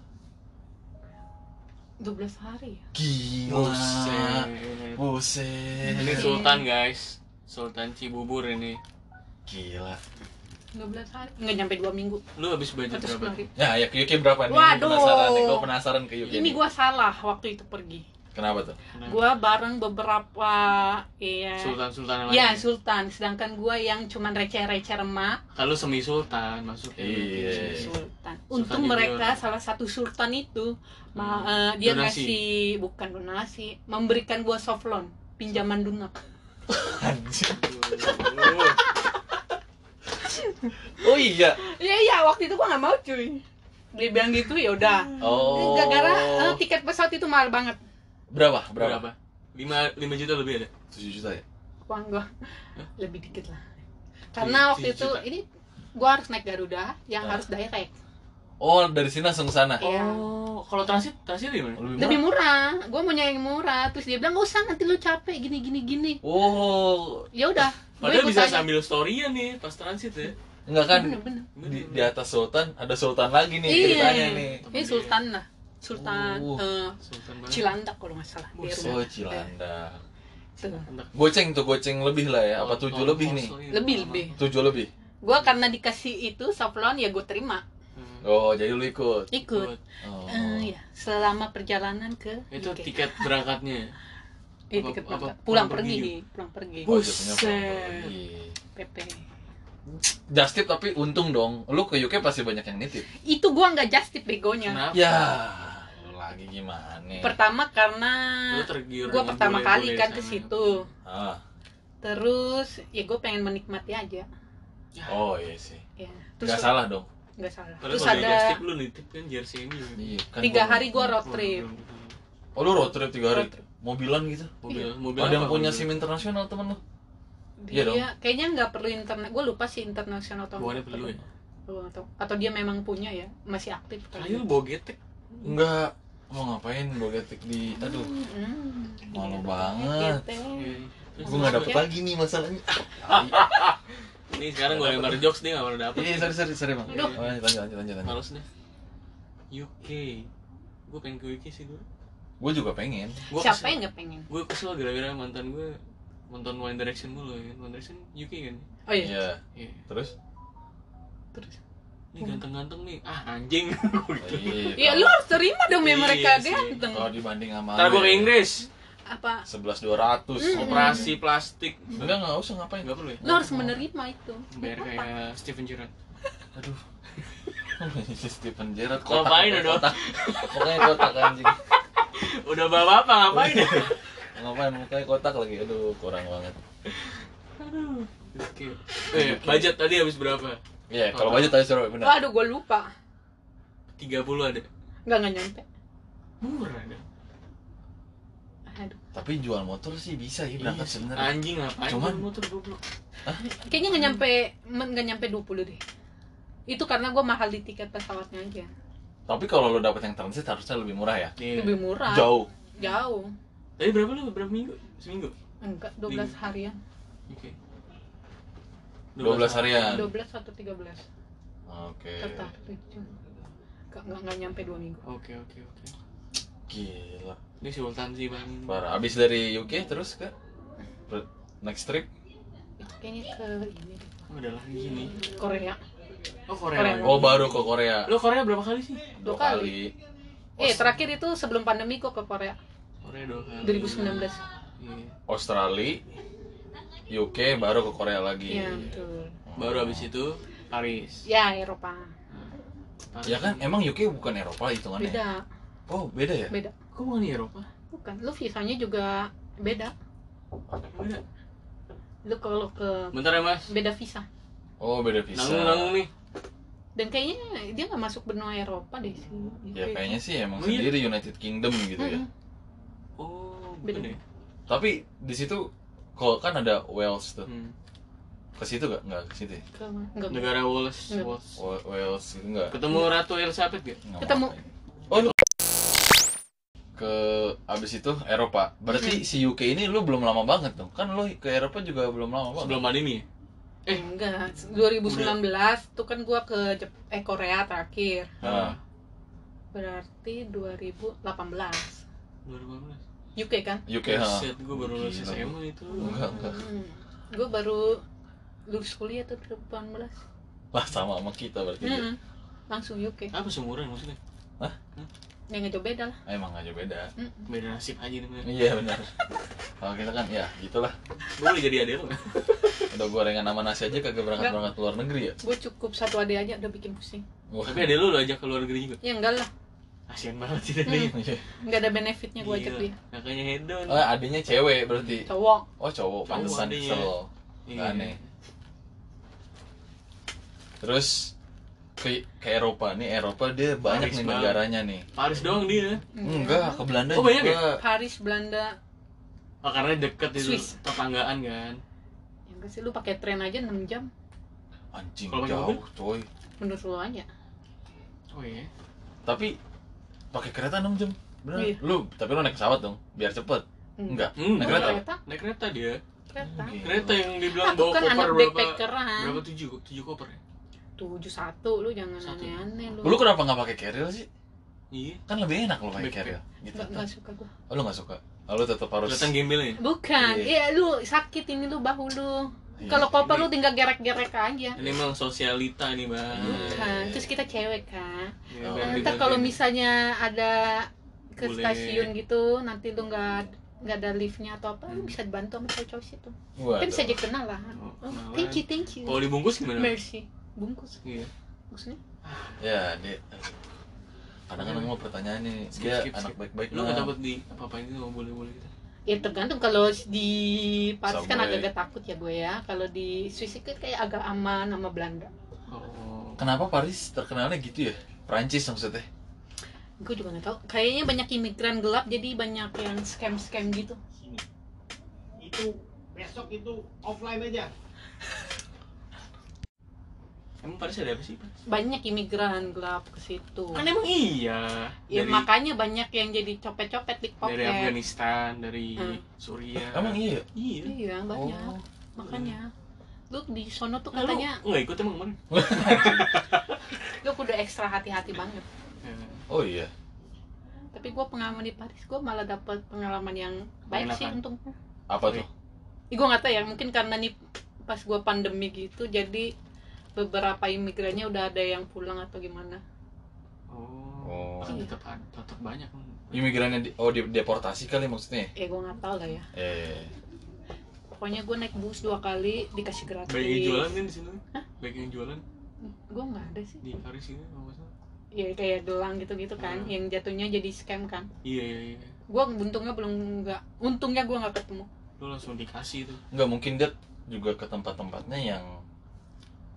12 hari ya. gila Buset. Ini buset Sultan guys. Sultan Cibubur ini. gila 12 hari. Enggak nyampe 2 minggu. Lu habis budget 110 berapa? hari. ya ya ke UK berapa nih Ini Waduh. penasaran nih gue penasaran ke UK Ini nih. gua salah waktu itu pergi. kenapa tuh Nah, Gua bareng beberapa iya. Hmm. Sultan Sultan yang lain. Ya, Sultan. Sedangkan gua yang cuman receh-receh remah, Kalau semi Sultan masuk. Iya. Sultan. Sultan Untung juga. mereka salah satu Sultan itu ma- eh, dia Hmm. Donasi. ngasih bukan donasi, memberikan gua soft loan, pinjaman lunak. anjir oh iya Iya iya, waktu itu gua nggak mau cuy. Dia bilang gitu ya udah. oh Gara-gara eh, tiket pesawat itu mahal banget. Berapa? Berapa? Berapa? Lima lima juta lebih ada. 7 juta ya? uang gua lebih dikit lah karena waktu Tujuh itu juta. ini gua harus naik Garuda yang Ah. harus direct Oh, dari sini langsung ke sana. Iya. Oh, kalau transit transit di mana? Oh, Lebih lebih murah. murah gua mau yang murah terus dia bilang gak usah nanti lu capek gini gini gini Oh, ya udah gua Padahal ikut bisa aja. sambil storyan nih pas transit ya. enggak kan? bener bener Di, di atas sultan ada sultan lagi nih Hmm. Iya. ceritanya nih. ini Sultan lah Sultan Oh. eh, Sultan banget. Cilandak kalau nggak salah Dia Buset. Oh, rumah. Eh, Cilandak. Tuh. Enak. Goceng tuh, goceng lebih lah ya. Apa Tol- tujuh tol lebih nih? Poso ini. Lebih, lebih. Tujuh lebih. gua karena dikasih itu sablon ya gua terima Hmm. Oh, jadi lu ikut. ikut Oh. Eh, ya selama perjalanan ke Itu UK. tiket berangkatnya. Eh, apa- tiket apa- berangkat. pulang pulang pergi gitu? pergi pulang pergi Oh, dia punya Buset. program lagi. PP Just tip tapi untung dong. Lu ke UK pasti banyak yang nitip. itu gua nggak justip begonya Kenapa? ya? Ya, lu lagi gimana? pertama karena Lu tergiur Nah, gua dengan pertama bule-bule kali kan sana. ke situ Ah. terus ya gue pengen menikmati aja Oh, iya sih. ya Gak terus salah dong. nggak salah Padahal terus kalau ada ada Justin lu nitip kan jersey ini. Iya, kan tiga gua- hari gua road trip Oh, lu road trip tiga hari. Road trip. Mobilan gitu. Iya. Mobil, mobil Ada yang apa, punya mobil? SIM internasional temen lu? Iya dia kayaknya nggak perlu internet gue lupa sih internasional atau Bukannya nggak perlu ya? Gua nggak tahu. atau dia memang punya ya masih aktif kali ya. Ayo lu bawa getek. Enggak. Mau ngapain gua getik di aduh, Hmm, malu gitu. banget. Gitu. Terus Gua nggak dapet lagi nih masalahnya. Ah, Nih sekarang gua lempar jokes dia nggak pernah dapet. Iya, sorry sorry sorry, Bang. Aduh. Oh, lanjut lanjut lanjut lanjut. Males deh. UK. Gue pengen ke UK sih gue. Gua juga pengen. Gua siapa kesel- yang nggak pengen Gue kesel gara-gara mantan gue nonton One Direction mulu ya. One Direction UK kan. oh iya Iya. Iya. Terus? terus Ini ganteng-ganteng nih. Ah anjing. Oh, Gua gitu. iya. ya lu harus terima dong Iya ya mereka sih. Oh. ganteng kalau dibanding sama Ntar gue ke Inggris. apa 11 200 Operasi plastik. Enggak enggak usah ngapain. Enggak perlu ya? lu harus menerima itu Bayar kayak Steven Gerrard. Aduh. Stephen Gerrard Ngapain, kotak, Dodo? kotak. Mukanya kotak anjing. Udah bawa apa ngapain ya? Ngapain mukanya kotak lagi. Aduh, kurang banget. Oke. Eh, budget tadi habis berapa? Iya, kalau budget tadi suruh benar. waduh gue lupa 30 ada. nggak nggak nyampe Murah ada. aduh Tapi jual motor sih bisa ya berangkat sebenarnya. Anjing ngapain? Cuman- Cuman motor goblok. kayaknya nggak nyampe men- nggak nyampe 20 deh itu karena gue mahal di tiket pesawatnya aja Tapi kalau lo dapet yang transit harusnya lebih murah ya. Iya. lebih murah Jauh. jauh Tadi berapa lu? Berapa minggu? Seminggu. enggak 12 Di- harian Oke. 12 Iya. harian. 12 atau 13 Oke. tetap tujuh. nggak nggak nggak nyampe 2 minggu Oke, oke, oke. Gila. Ini Sultan sih, Bang. Parah. Abis dari UK terus ke per- next trip. itu kayaknya ke ini deh, Oh, ada lagi nih. Korea Oh, Korea. Korea. lagi. Oh baru ke Korea. Lu Korea berapa kali sih? Dua Dua kali. kali. eh terakhir itu sebelum pandemi gue ke Korea Korea dua kali. 2019 Iya. Australia, UK baru ke Korea lagi. Oh. iya betul Baru habis itu Paris. ya Eropa Paris. Ya kan emang UK bukan Eropa ya? hitungannya. beda Oh, beda ya? beda Kok bukan di Eropa? bukan lu visanya juga beda Beda. lu kalau ke Bentar ya, Mas. beda visa Oh, beda visa. Nanggung-nanggung nih. dan kayaknya dia nggak masuk benua Eropa deh sih Ya kayaknya sih emang Oh, iya. sendiri United Kingdom gitu ya. Mm-mm. Oh, Beda. bukan ya? Tapi di situ kalau kan ada Wales tuh. Hmm. Ke situ gak? Enggak ke situ. ya? Ke mana? Nggak bisa. Negara Wales. Nggak. Wales. Wa- Wales itu enggak. Ketemu Iya. Ratu Elizabeth gak? Nggak Ketemu. mau. Oh, lu ke abis itu Eropa. Berarti si UK ini lu belum lama banget dong. Kan lu ke Eropa juga belum lama banget. Sebelum pandemi ya? Eh, enggak. 2019 tuh kan gua ke Jep eh Korea terakhir. Nah, Ah. Berarti 2018. 2018 UK kan? UK ha. Buset, gue baru lulus Gila. SMA itu Enggak, enggak. Hmm. Gua baru lulus kuliah tuh 2018. Lah sama sama kita berarti. dia. Mm-mm. Hmm. Langsung UK. Apa seumuran maksudnya? Ya nggak jauh beda lah. Hmm. Emang aja beda. Mm-mm. Beda nasib aja nih men. Iya benar. Kalau kita kan ya gitulah. Gue boleh jadi adik lo gak? Udah gorengan sama nasi aja kagak berangkat berangkat luar negeri ya. Gua cukup satu ade aja udah bikin pusing. Wah. Tapi adik lo lo ajak ke luar negeri juga Ya enggak lah. Kasian banget sih adiknya Iya. Nggak ada benefitnya Hmm. gua ajak Gila, dia. Kakaknya hedon Oh, adanya cewek berarti. Cowok. Oh, cowok pantesan adanya. kesel. Iya. Aneh. Terus ke, ke Eropa nih Eropa dia banyak Paris nih banget. negaranya nih Paris doang dia enggak ke Belanda Oh, banyak juga Paris Belanda oh, karena deket itu Swiss. tetanggaan kan yang Ya sih lu pakai tren aja 6 jam anjing Kalau pakai jauh coy menurut lu aja oh iya tapi pakai kereta 6 jam bener Iya. lu tapi lu naik pesawat dong biar cepet enggak Hmm, Naik naik kereta? kereta naik kereta Iya. dia kereta Gila. kereta yang dibilang aku bawa kan koper anak berapa backpackeran berapa tujuh tujuh koper ya? tujuh satu lu jangan Satu. aneh-aneh lu lu kenapa nggak pakai carrier sih iya kan lebih enak lu pakai Backpack. carrier gitu nggak nggak suka gua oh, lu nggak suka oh, lu tetap harus kelihatan ya? gembelnya bukan Iya. iya lu sakit ini lu bahu lu Iya. kalau koper Ini- lu tinggal gerek-gerek aja ini emang sosialita nih bang bukan terus kita cewek kan Oh. Ya, biar Nah, Nanti ntar dibantuin. kalau misalnya ada ke Boleh. stasiun gitu nanti lu nggak nggak ada liftnya atau apa lu bisa dibantu sama cowok-cowok situ Waduh. kan bisa jadi kenalan Oh, Oh, kenalan. thank you thank you kalau dibungkus gimana mercy bungkus iya maksudnya ya dia kadang-kadang mau pertanyaan nih Skip, dia skip, skip. anak baik-baik lu nggak doang. dapet di gitu, apa apain itu nggak boleh boleh kita ya tergantung kalau di Paris kan Subway. agak-agak takut ya gue ya kalau di Swiss itu kayak agak aman sama Belanda oh Kenapa Paris terkenalnya gitu ya? Prancis maksudnya. gue juga nggak tahu kayaknya banyak imigran gelap jadi banyak yang scam scam gitu sini. Itu besok itu offline aja. emang Paris ada apa sih Pak? banyak imigran gelap ke situ kan emang iya ya dari makanya banyak yang jadi copet copet pickpocket dari Afghanistan dari Hmm. Suriah Emang iya. iya iya banyak Oh. makanya lu di sono tuh Nah, lu katanya nggak ikut emang kemarin lu kudu ekstra hati-hati banget Ya, Oh iya. tapi gue pengalaman di Paris gue malah dapet pengalaman yang baik sih Menyenangkan. untung Apa Iya. tuh? gue nggak tahu ya mungkin karena nih pas gue pandemi gitu jadi beberapa imigrannya udah ada yang pulang atau gimana oh kan tetap ada- tetap banyak Imigrannya di, oh di, deportasi kali maksudnya. ya gue nggak tahu lah ya Eh. pokoknya gue naik bus dua kali dikasih gratis banyak yang jualan kan di sini banyak yang jualan gue nggak ada sih di Paris ini kalau nggak salah ya kayak gelang gitu gitu kan Hmm. yang jatuhnya jadi scam kan iya iya iya gue untungnya belum nggak untungnya gue nggak ketemu lu langsung dikasih tuh Enggak mungkin dia juga ke tempat-tempatnya yang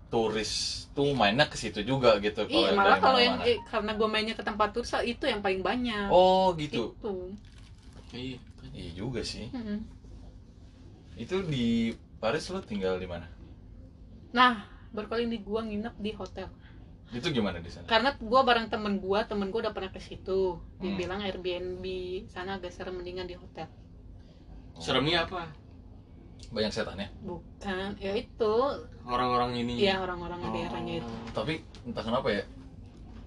turis tuh mainnya ke situ juga gitu iya dari malah kalau yang mana-mana. eh, karena gue mainnya ke tempat turis itu yang paling banyak Oh gitu. itu iya Iya juga sih. Mm-mm. Itu di Paris lu tinggal di mana? nah berkali ini gue nginep di hotel Itu gimana di sana? karena gue bareng temen gue temen gue udah pernah ke situ dia Hmm. bilang Airbnb sana agak serem mendingan di hotel seremnya apa Banyak setannya. bukan ya itu orang-orang ini ya orang-orang daerahnya Oh, itu Tapi entah kenapa ya.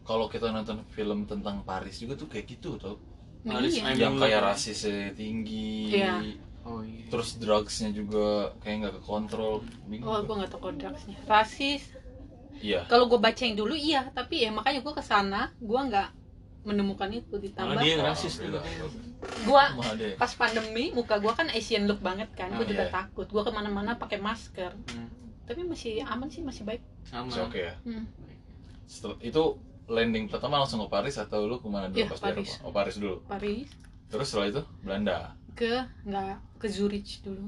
Kalau kita nonton film tentang Paris juga tuh kayak gitu tuh. Nah, Paris iya. Air- yang kayak rasisnya tinggi Iya. oh iya terus drugsnya juga kayak nggak kekontrol bingung oh gua. gue nggak tahu kalau drugsnya rasis iya kalau gue baca yang dulu iya tapi ya makanya gue kesana gue nggak menemukan itu malah ditambah dia yang rasis tuh Alhamdulillah. gue Mah Iya. ada ya? pas pandemi muka gue kan Asian look banget kan gue Oh, juga iya. takut gue kemana-mana pakai masker Hmm, tapi masih aman sih masih baik sama Masih oke ya Hmm. Setel- itu landing pertama langsung ke Paris atau lu kemana dulu Iya, pas di Paris. Eropa? oh Paris dulu Paris terus setelah itu Belanda ke nggak ke Zurich dulu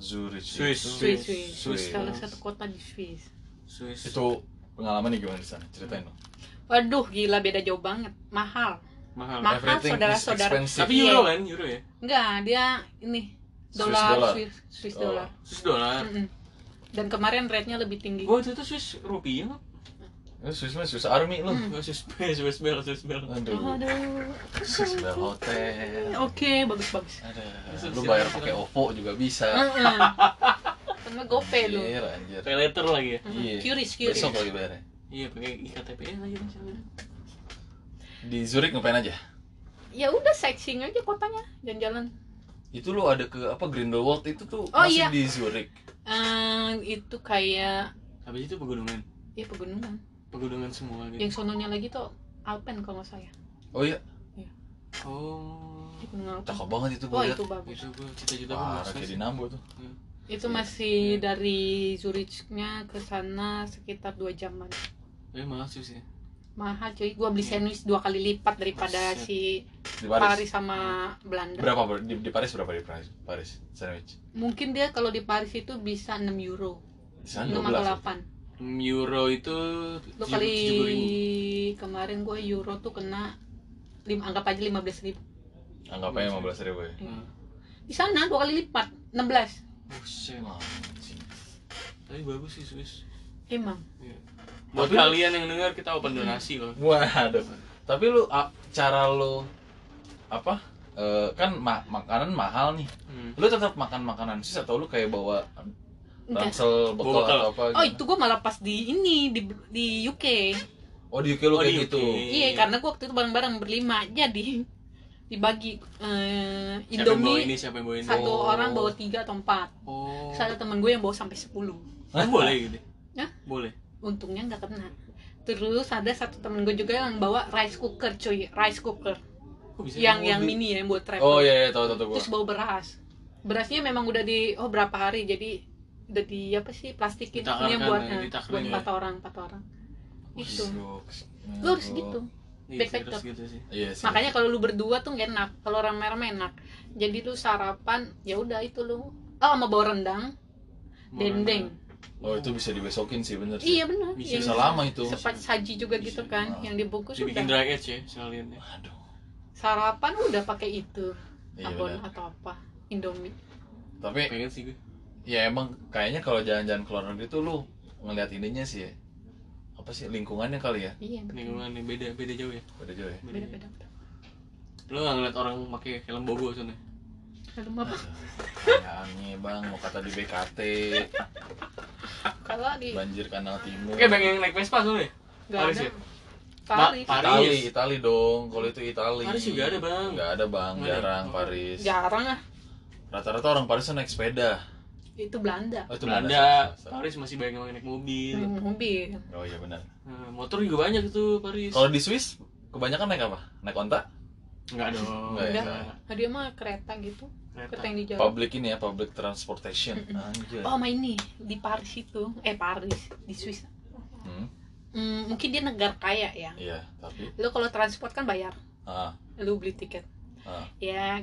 Zurich Swiss. itu, Swiss Swiss, Swiss. salah satu kota di Swiss Swiss itu pengalamannya gimana di sana ceritain dong waduh gila beda jauh banget mahal mahal Mahal, everything is saudara-saudara. expensive tapi Iya. euro kan euro ya enggak dia ini Swiss dollar. dolar Swiss Swiss Oh. dolar Swiss dollar Mm-mm. dan kemarin rate-nya lebih tinggi gua waktu itu Swiss rupiah nggak? Eh, Swiss mah Swiss Army lu Hmm. nggak Swiss bel Swiss bel Swiss bel Oh, aduh aduh Swiss Bell Hotel oke bagus bagus Ada. Swiss lu Bell. bayar pakai OVO juga bisa Mm-mm. sama GoPay Ah, lu anjir anjir pay letter lagi ya Iya. curious curious besok lagi bayarnya iya pakai iktp lagi kan sekarang. di Zurich ngapain aja ya udah sightseeing aja kotanya jalan-jalan itu lu ada ke apa Grindelwald itu tuh Oh, masih iya. di Zurich Eh, itu kayak habis itu pegunungan ya pegunungan pegunungan semua yang Iya. gitu sononya lagi tuh Alpen kalau nggak salah ya. oh iya oh Di Gunung Alpen. cakep banget itu Wah gua liat Oh, itu bagus. itu gua cita-cita gua parah mau kayak Swiss. di Nambo tuh Itu masih dari Zurichnya ke sana sekitar dua jaman. tapi mahal Swiss ya Mahal cuy, gua beli sandwich dua kali lipat daripada Buset. si di Paris, Paris sama Belanda. berapa Bro? di, di Paris berapa di Paris Paris sandwich Mungkin dia kalau di Paris itu bisa 6 euro, di Ah, sana 6 atau 12 8. Hmm, euro itu Iya, Lu tujuh- kali 70.000. kemarin gue euro tuh kena lim, anggap aja 15.000 ribu. Anggap aja 15 ribu ya. Hmm. Di sana dua kali lipat, 16. Buset. Wah, anjing. Tapi bagus sih Swiss. Emang. Iya. Buat Tapi- kalian yang dengar kita open donasi loh. Waduh. Tapi lu a- cara lu apa? eh, kan ma- makanan mahal nih. Hmm. Lu tetap makan makanan sis atau lu kayak bawa Enggak. ransel Bawa bekal bekal. atau apa gitu? Oh, itu gue malah pas di ini di di UK. Oh, di UK lu Oh, kayak di gitu. UK. Iya, karena gue waktu itu bareng-bareng berlima jadi dibagi eh, Siapa yang bawa ini? Indomie Siapa yang bawa ini? satu Oh. orang bawa tiga atau empat. Oh. Terus ada temen gue yang bawa sampai 10 Kan boleh gitu. Hah? Boleh. Untungnya nggak kena. Terus ada satu temen gue juga yang bawa rice cooker cuy, rice cooker Kok bisa? yang Oh, yang di- mini ya yang buat travel. Oh iya, iya tahu tahu tahu gua. Terus bawa beras. Berasnya memang udah di oh berapa hari jadi udah di apa sih plastikin Ditakarkan ini yang buat ya, eh, ditakarkan buat ya. empat orang empat orang. Gitu. Gila, Lu harus bro. gitu. Iya, Back serius factor. gitu sih. Iya sih. Makanya kalau lu berdua tuh gak enak, kalau rame-rame enak. Jadi lu sarapan, ya udah itu lu. Oh, sama bawa rendang, Mau dendeng. Oh, itu bisa dibesokin sih bener sih. Iya benar. Bisa Yang Bisa lama itu. Sepat saji juga Bisa. gitu kan, Nah. yang dibungkus Dibikin udah. dry age ya sekalian ya. Aduh. Sarapan udah pakai itu, Iya abon bener. atau apa, Indomie. Tapi Pengen sih gue. ya emang kayaknya kalau jalan-jalan ke luar negeri tuh lu ngeliat ininya sih ya. apa sih lingkungannya kali ya Iya, betul. Lingkungan yang beda beda jauh ya. udah jauh ya Beda. Beda-beda. Lo nggak ngeliat orang pakai helm bobo sana? Lalu Nah. apa? Tanyaannya bang mau kata di BKT Kalau di banjir kanal timur Oke, pengen naik Vespa soalnya. nggak Paris ada. ya? Ma- Paris. Paris. Itali Itali dong kalau itu Itali Paris juga ada, Bang. nggak ada bang Nggak ada. jarang Oh. Paris Jarang ah. rata-rata orang Paris tuh naik sepeda Itu Belanda. oh itu Sorry, Belanda, sorry, Paris masih banyak yang naik mobil. Hmm, mobil. sorry. oh iya benar Nah, motor juga banyak tuh Paris. kalau di Swiss kebanyakan naik apa naik onta Enggak dong. Nggak ya? Nah, dia mah kereta gitu. Kereta Kereta. yang di jalan. public ini ya public transportation anjir Oh, sama ini di Paris itu, eh Paris di Swiss. Hmm, Hmm, mungkin dia negara kaya ya. iya tapi Lo kalau transport kan bayar, ah lo beli tiket. Ah. Ya,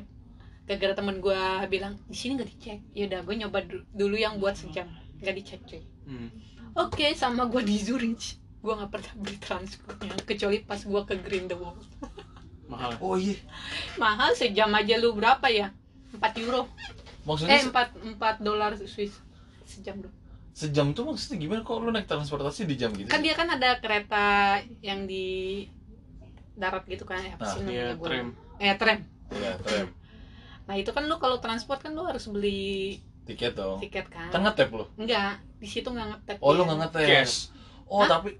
gara-gara temen gue bilang di sini nggak dicek. Ya udah, gue nyoba du- dulu yang buat sejam, nggak dicek cuy. Hmm. Oke, sama gue di Zurich, gue nggak pernah beli transportnya kecuali pas gue ke Green the Wall. Eh, Mahal. oh iya Mahal sejam aja lu berapa ya? 4 euro. maksudnya Eh, 4 4 dolar Swiss sejam dong. Sejam tuh maksudnya gimana kok lu naik transportasi di jam gitu? kan sih? dia kan ada kereta yang di darat gitu kan apa Ah, sih namanya Iya, gua tram. eh tram Iya, tram. nah itu kan lu kalau transport kan lu harus beli Tiket dong. tiket kan Kan ngetep lu. enggak di situ nggak ngetep Oh, lu dia. nggak ngetep. Cash. Oh, Hah? tapi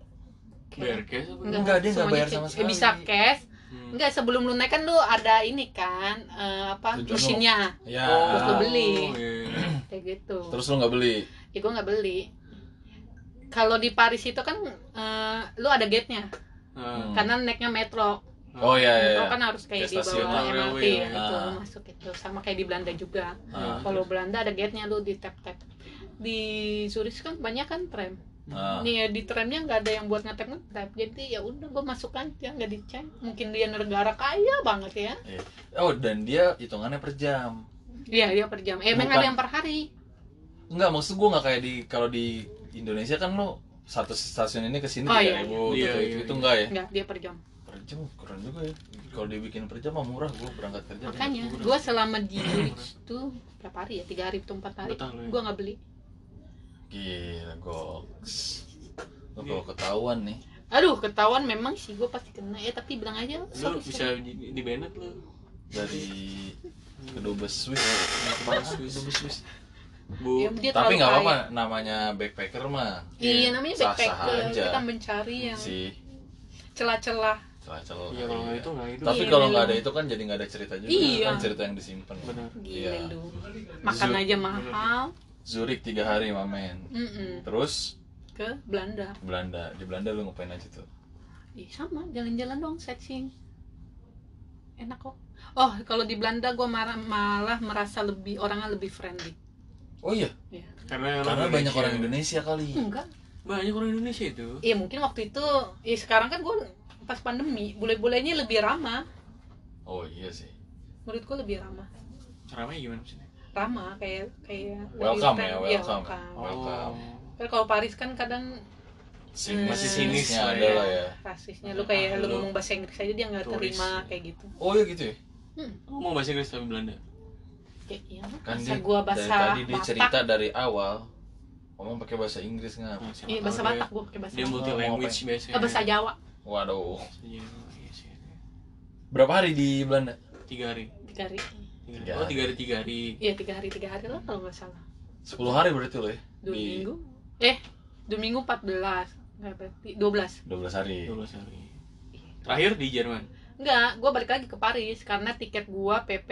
Kayak- Bayar cash apa? Nggak. dia nggak semuanya bayar cek- sama eh, sekali. bisa cash Hmm. enggak sebelum lu naik kan lu ada ini kan eh, apa Tujuan lu. mesinnya ya. Terus Oh, lu beli. Nah, iya. kayak gitu Terus lu nggak beli. ya gue nggak beli kalau di Paris itu kan eh, lu ada gate-nya Ah, Hmm. karena naiknya metro Nah, Oh iya iya. Metro iya. kan harus kayak Kayak di stasiun bawah lah, MRT railway ya, ya. gitu, Ah. masuk itu sama kayak di Belanda juga. Ah, Kalau Belanda ada gate-nya lu di tap-tap. Di Zurich kan kebanyakan tram. ah. Nih ya, di tramnya nggak ada yang buat ngetap ngetap. Jadi ya udah gue masuk aja nggak dicek. Mungkin dia negara kaya banget ya. Oh, dan dia hitungannya per jam. Iya dia per jam. Eh emang Bukan. ada yang per hari. Enggak, maksud gua nggak kayak di kalau di Indonesia kan lu satu stasiun ini ke sini Oh, tiga iya, ribu iya. gitu, Iya, iya, gitu iya. enggak ya Nggak dia per jam. per jam keren juga ya kalau dibikin per jam mah murah gua berangkat kerja Makanya murah. gue selama di Zurich tuh berapa hari ya? Tiga hari atau empat hari. Betah lu ya. Gue nggak beli. gila goks lu Iya. kalau ketahuan nih Aduh ketahuan memang sih gue pasti kena ya tapi bilang aja Lu sorry, sorry. bisa di, di banned lu. dari kedubes Swiss Kepala Iya, Swiss. kedubes Swiss Bu. Ya, dia tapi terlalu nggak kaya. apa-apa namanya backpacker mah ya, Iya namanya Sah-sah backpacker aja. kita mencari yang si celah-celah. celah-celah Iya kalau nggak iya. itu nggak itu. tapi Iya, kalau iya. nggak ada itu kan jadi nggak ada cerita juga Iya. kan cerita yang disimpan Benar. Gila Iya. lu. Makan Zu- aja mahal. Zurich tiga hari mamen Mm-mm. terus Ke Belanda. Belanda di Belanda lu ngapain aja tuh Ih, sama jalan-jalan dong sightseeing. Enak kok. Oh, kalau di Belanda gua marah, malah merasa lebih orangnya lebih friendly. oh iya Karena, karena banyak orang Indonesia kali Enggak. Banyak orang Indonesia itu. Iya, mungkin waktu itu ya sekarang kan gua pas pandemi, bule-bulenya lebih ramah. oh iya sih Menurut gua lebih ramah. Ceramahnya gimana maksudnya? Ramah kayak kayak lebih welcome ya friendly. Iya, welcome welcome Tapi kalau Paris kan kadang Si- Hmm. masih sinisnya Sinis lah ada ya. lah ya. rasisnya lu Ah, kayak lu lu ngomong bahasa Inggris aja dia nggak turis. terima kayak gitu Oh ya gitu ya. Oh. Lu mau bahasa Inggris tapi Belanda? kayak iya Kan bahasa dia gua Dari bahasa tadi dia Batak cerita dari awal ngomong pakai bahasa Inggris nggak? Nah, siapa iya tahu bahasa dia- Batak gua pakai bahasa Dia Batak. multi language biasanya. Eh, bahasa Jawa Waduh. Bahasa Jawa, iya sih. Berapa hari di Belanda? Tiga hari. tiga hari Tiga hari. Tiga Oh tiga hari tiga hari. iya tiga hari tiga hari lah kalau nggak salah 10 hari berarti lo ya? dua Di- minggu eh dua minggu 14 nggak berarti 12 12 hari. Dua belas hari. Terakhir di Jerman. enggak gue balik lagi ke Paris karena tiket gua PP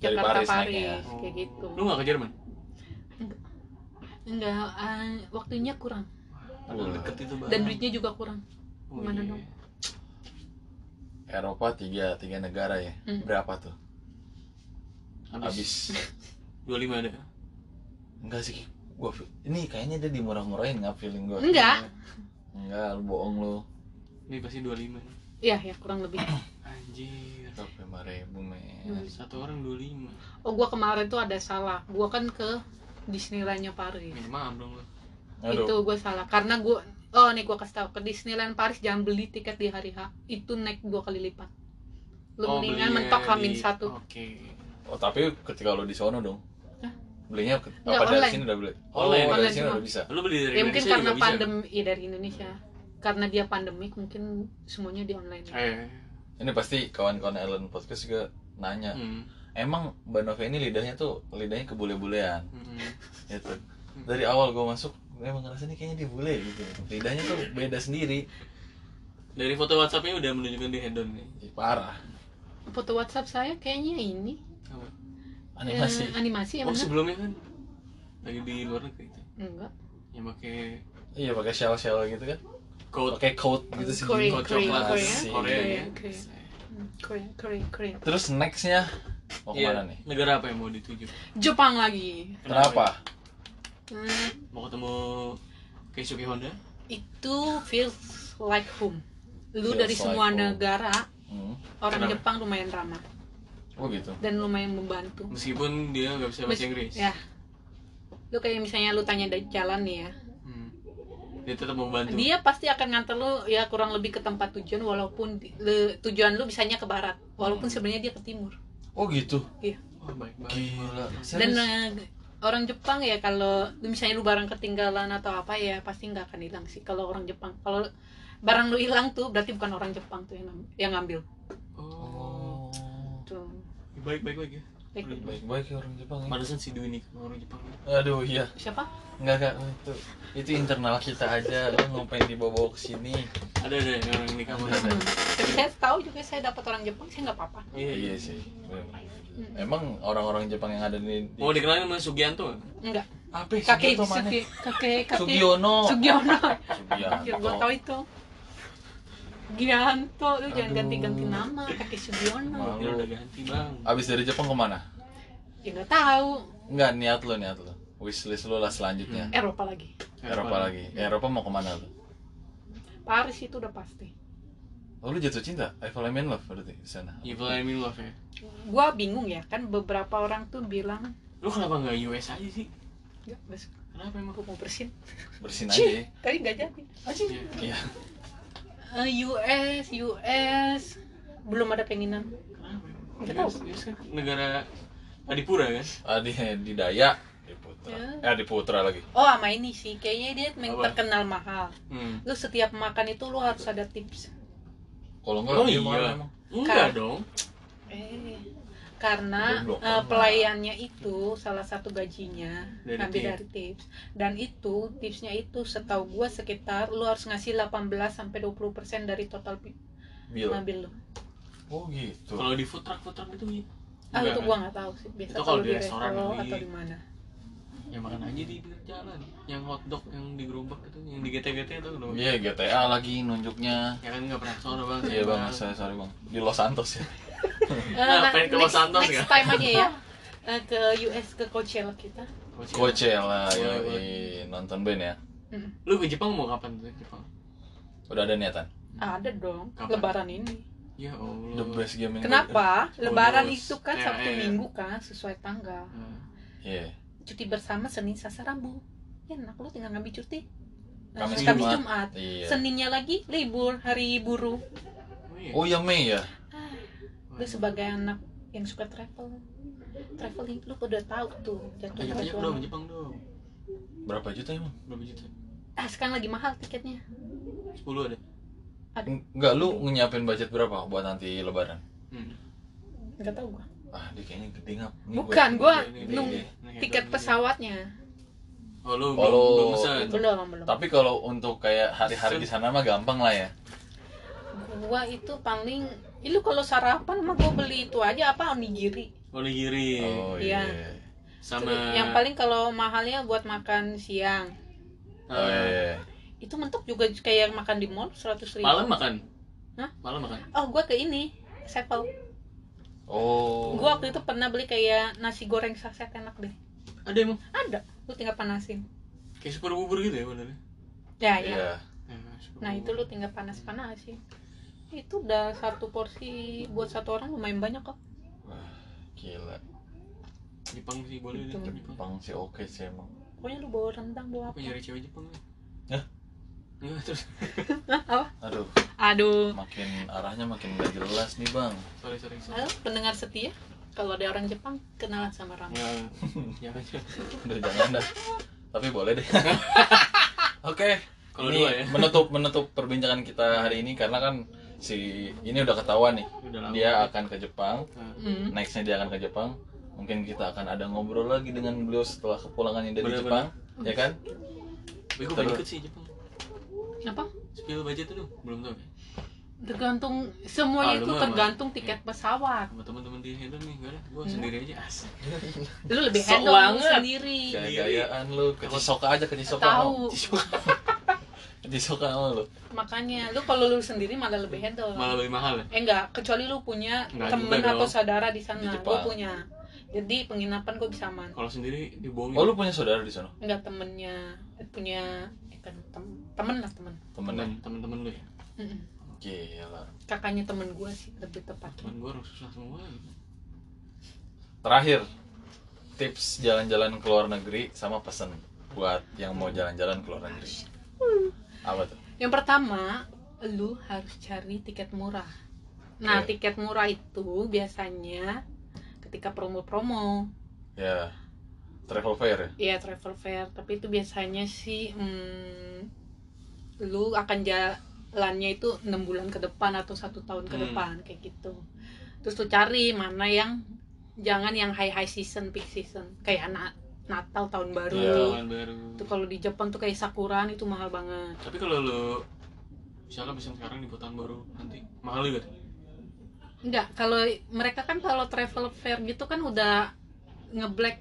Dari Jakarta Paris Paris, naiknya. kayak gitu Oh. Lu nggak ke Jerman? enggak eh, waktunya kurang Padahal Wah. deket itu banget. dan duitnya juga kurang Oh, gimana iya. dong? Eropa tiga tiga negara ya. Hmm. Berapa tuh? Habis. Habis. 25 ada. Enggak sih. Gua feel- ini kayaknya dia dimurah-murahin nggak feeling gua. enggak Enggak, lu bohong lu. Ini pasti 25 nih. iya ya kurang lebih Anjir. Sampai 5.000, men. Hmm. Satu orang 25. oh gua kemarin tuh ada salah gua kan ke Disneylandnya Paris Minta maaf dong lu. itu Aduh. gue salah karena gue oh nih gue kasih tahu ke Disneyland Paris jangan beli tiket di hari H itu naik dua kali lipat lu Oh, mendingan belinya mentok di- hamin satu Oke. Oh, tapi ketika lu di sono dong. Hah? Belinya ke, Nggak, apa dari online. sini udah beli? Oh, Online. dari Online sini semua. udah bisa. Lu beli dari ya mungkin Indonesia karena juga bisa. pandemi iya, dari Indonesia karena dia pandemik mungkin semuanya di online Eh. Ini pasti kawan-kawan Ellen podcast juga nanya. Hmm. Emang Mbak Nova ini lidahnya tuh lidahnya kebule-bulean Hmm. gitu. Dari awal gue masuk gue emang ngerasa nih kayaknya dia bule gitu. Lidahnya tuh beda sendiri. Dari foto WhatsAppnya udah menunjukkan di hedon nih. Ih, parah. foto WhatsApp saya kayaknya ini Apa? eh, Animasi. animasi ya Oh mana sebelumnya kan lagi di luar negeri itu. enggak Yang pakai Iya pakai shell-shell gitu kan. coat Pakai coat gitu sih. Korea, coat Korea, coklat Korea, Asik. Korea, ya. Korea, Hmm, keren keren keren Terus nextnya mau Iya, kemana nih? Negara apa yang mau dituju? ya? Jepang lagi Kenapa? Hmm, Mau ketemu Keisuke Honda? itu feels like home lu Feels dari like semua home. negara Hmm. orang Kenapa? Jepang lumayan ramah Oh gitu. dan lumayan membantu. Meskipun dia nggak bisa bahasa Mes- Inggris. Ya. Lu kayak misalnya lu tanya dari jalan nih ya. Hmm. Dia tetap mau bantu. Dia pasti akan nganter lu ya kurang lebih ke tempat tujuan walaupun di- le- tujuan lu bisanya ke barat, Hmm. walaupun sebenarnya dia ke timur. Oh gitu. Oh, baik banget. Gila. Dan Serius. eh, orang Jepang ya kalau lu misalnya lu barang ketinggalan atau apa ya pasti nggak akan hilang sih kalau orang Jepang. Kalau barang lu hilang tuh berarti bukan orang Jepang tuh yang ngam- yang ngambil. Oh. Oh. Tuh. Baik baik baik ya. Baik. Baik-baik ya orang Jepang ya. Pantesan si Dwi nih orang Jepang. Aduh iya. Siapa? Enggak enggak itu. Itu internal kita aja. Lu ngapain dibawa ke sini? Ada ada yang orang nikah sama Ada. Hmm. Tapi saya tahu juga saya dapat orang Jepang, saya nggak apa-apa. Iya iya. Iya sih. Emang orang-orang Jepang yang ada di, Oh, di Mau dikenalin sama Sugianto? nggak? Enggak. apa sih kakek itu di mana? Sugi kakek kakek Sugiono. Sugiono ya Sugianto. gue tau itu Gianto lu jangan Aduh. ganti-ganti nama kakek Sugiono Dia Malu. udah ganti bang. Abis dari Jepang kemana? ya nggak tahu Enggak niat lu niat lu. Wishlist lu lah selanjutnya. Eropa lagi Eropa lagi. Eropa mau kemana lu? Paris itu udah pasti Oh, lu jatuh cinta? I fall in love berarti di sana. Evil I'm in love ya. gue bingung ya kan beberapa orang tuh bilang Lu kenapa nggak US aja sih? nggak besok Kenapa emang? aku mau bersin Bersin aja ya. Cih, tapi nggak jadi Iya. Iya. Eh, US US belum ada keinginan Kenapa emang? Nggak tahu. US, US kan negara Adipura kan? Adi Ah, di Daya, di Putra. Ya. Eh, di Putra lagi. oh sama ini sih kayaknya dia main Apa? terkenal mahal Hmm. lu setiap makan itu lu harus ada tips Kalau enggak Oh, dia iya. mana emang? Enggak Kan. dong. Eh, karena Goblok eh, banget. pelayannya itu salah satu gajinya Dari ambil tips. dari tips dan itu tipsnya itu setahu gua sekitar lu harus ngasih 18 sampai 20% dari total pi- Bill. ngambil lu. Oh, gitu. Kalau di food truck food truck itu gitu. Ah Enggak itu kan? gua nggak tahu sih. Biasa Itu kalau di restoran gitu. atau di mana. Ya makan aja di pinggir jalan. Yang hotdog yang digerobak itu, yang di GT-GT itu kenapa? Iya, GTA lagi nunjuknya. Ya kan nggak pernah sono bang. Iya, Bang. Saya sorry, Bang. Di Los Santos ya. Eh, Nah, nah, pengen ke Los next, Santos next nggak? time aja ya. Eh, ke US ke Coachella kita. Coachella, Boleh, ya yoi. boleh. nonton band ya. Mm. Lu ke Jepang mau kapan tuh Jepang? Udah ada niatan. Ada dong Kapan? lebaran ini. Ya Allah. The best game in the- Kenapa? Lebaran bonus. itu kan Ya, Sabtu ya. Minggu kan sesuai tanggal. Nah, Iya. Ya, Cuti bersama Senin Selasa Rabu. Enak lu tinggal ngambil cuti. Kamis, Kamis Jumat. Jumat. Iya. Seninnya lagi libur hari buruh. Oh, Oh ya iya. Mei ya. Lu sebagai anak yang suka travel, traveling lu udah tahu tuh jatuh Ayo tanya dong, jadwal. Jepang dong. Berapa juta ya, emang? Berapa juta? Ah sekarang lagi mahal tiketnya. 10 ada. Enggak lu nyiapin budget berapa buat nanti lebaran? Hmm. Enggak tahu gua. Ah, dia kayaknya gede ngap. Iya, Bukan, gua Ini, ini, nung ini, ini, tiket ini. pesawatnya. Oh, Oh, lu- lu belum belum pesan. Belum, belum. Tapi kalau untuk kayak hari-hari di sana mah gampang lah ya. Gua itu paling Ih, lu kalau sarapan mah gua beli itu aja apa onigiri. Onigiri Oh Iya. iya. sama Yang paling kalau mahalnya buat makan siang. eh, Oh iya. Itu mentok juga kayak makan di mall 100 ribu. malam makan. Hah? Malam makan. Oh, gua ke ini. Sevel. Oh. Gua waktu itu pernah beli kayak nasi goreng saset enak deh. Ada emang Ada. Lu tinggal panasin. kayak super bubur gitu ya benernya. Ya, ya. Iya. Ya, super Nah, itu bubur. lu tinggal panas-panasin. Itu udah satu porsi buat satu orang lumayan banyak kok. Gila. Jepang sih boleh deh. Itu. Jepang. Jepang sih oke sih emang. Pokoknya lu bawa rendang, bawa Apa apa. nyari cewek Jepang nih? Hah? Enggak terus. Hah, apa? Aduh, Aduh. makin arahnya makin gak jelas nih, Bang. Sorry sorry. sorry. Halo, pendengar setia. Kalau ada orang Jepang, kenalan sama Rama. Ya, jangan jangan. Udah jangan dah. Tapi boleh deh. Oke. Kalau ini dua ya. menutup menutup perbincangan kita hari ini karena kan si ini udah ketahuan nih. Udah lama. Dia akan ke Jepang. Nah, Hmm. Nextnya dia akan ke Jepang. Mungkin kita akan ada ngobrol lagi dengan beliau setelah kepulangannya dari Bener-bener. Jepang, ya kan? Tapi gue Terus. pengen ikut sih Jepang. Apa? Spill budget tuh belum tau ya. Tergantung Ah, semuanya lu itu mah- tergantung tiket pesawat. Sama teman-teman di handle nih, enggak ada. Gue sendiri aja asik. Lu lebih Sok handle lu banget. sendiri. Iya. Gaya-gayaan lu, kecisoka aja kecisoka. Tahu. Kecisoka sama lu. Makanya lu kalau lu sendiri malah lebih handle. Malah lebih mahal ya. Eh enggak, kecuali lu punya Enggak temen juga atau dong. saudara di Di sana. Gue Jepang. punya. Jadi penginapan gue bisa aman. Kalau sendiri dibohongin. Oh, lu punya saudara di sana? Enggak temennya, punya eh, kan tem- temen lah temen. Temennya. temen temen lu ya. Mm-mm. Gila. Kakaknya temen gue sih lebih tepatnya. Temen gue harus susah semua. Terakhir, tips jalan-jalan ke luar negeri sama pesan buat yang mau jalan-jalan ke luar negeri. Apa tuh? Yang pertama, lu harus cari tiket murah. Nah, Oke. tiket murah itu biasanya ketika promo-promo, Ya, travel fair ya? ya travel fair, tapi itu biasanya sih hmm, lu akan jalannya itu enam bulan ke depan atau satu tahun ke Hmm. depan kayak gitu. Terus lu cari mana yang jangan yang high high season, peak season, kayak na- Natal tahun baru. Iya. tuh. Tahun baru. Itu kalau di Jepang tuh kayak sakuran itu mahal banget. Tapi kalau lu misalnya bisa sekarang di tahun baru nanti mahal juga. Enggak, kalau mereka kan kalau travel fair gitu kan udah nge-black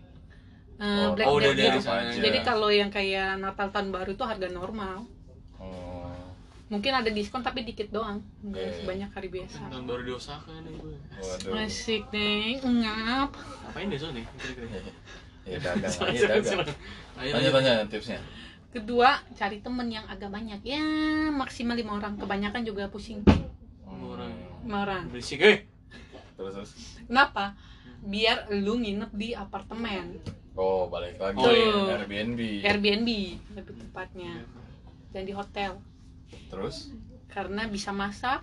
eh, black oh, udah debt ada gitu. di sana. Jadi kalau yang kayak Natal tahun baru itu harga normal. Hmm, Mungkin ada diskon tapi dikit doang. Enggak Iya. sebanyak hari biasa. Tahun baru di Osaka nih gue. waduh. Asik deh, ngap. Ngapain deh soalnya? Kira-kira. Ya dagang Sorry, aja sorry, dagang. sorry. Ayo, ayo. Tanya-tanya tipsnya. Kedua, cari temen yang agak banyak. Ya, maksimal lima orang. Kebanyakan juga pusing. Hmm, Lima orang. Berisik, eh. terus terus. Kenapa? Biar lu nginep di apartemen. Oh, balik lagi Oh, iya. Airbnb. Airbnb lebih tepatnya. Dan di hotel. Terus karena bisa masak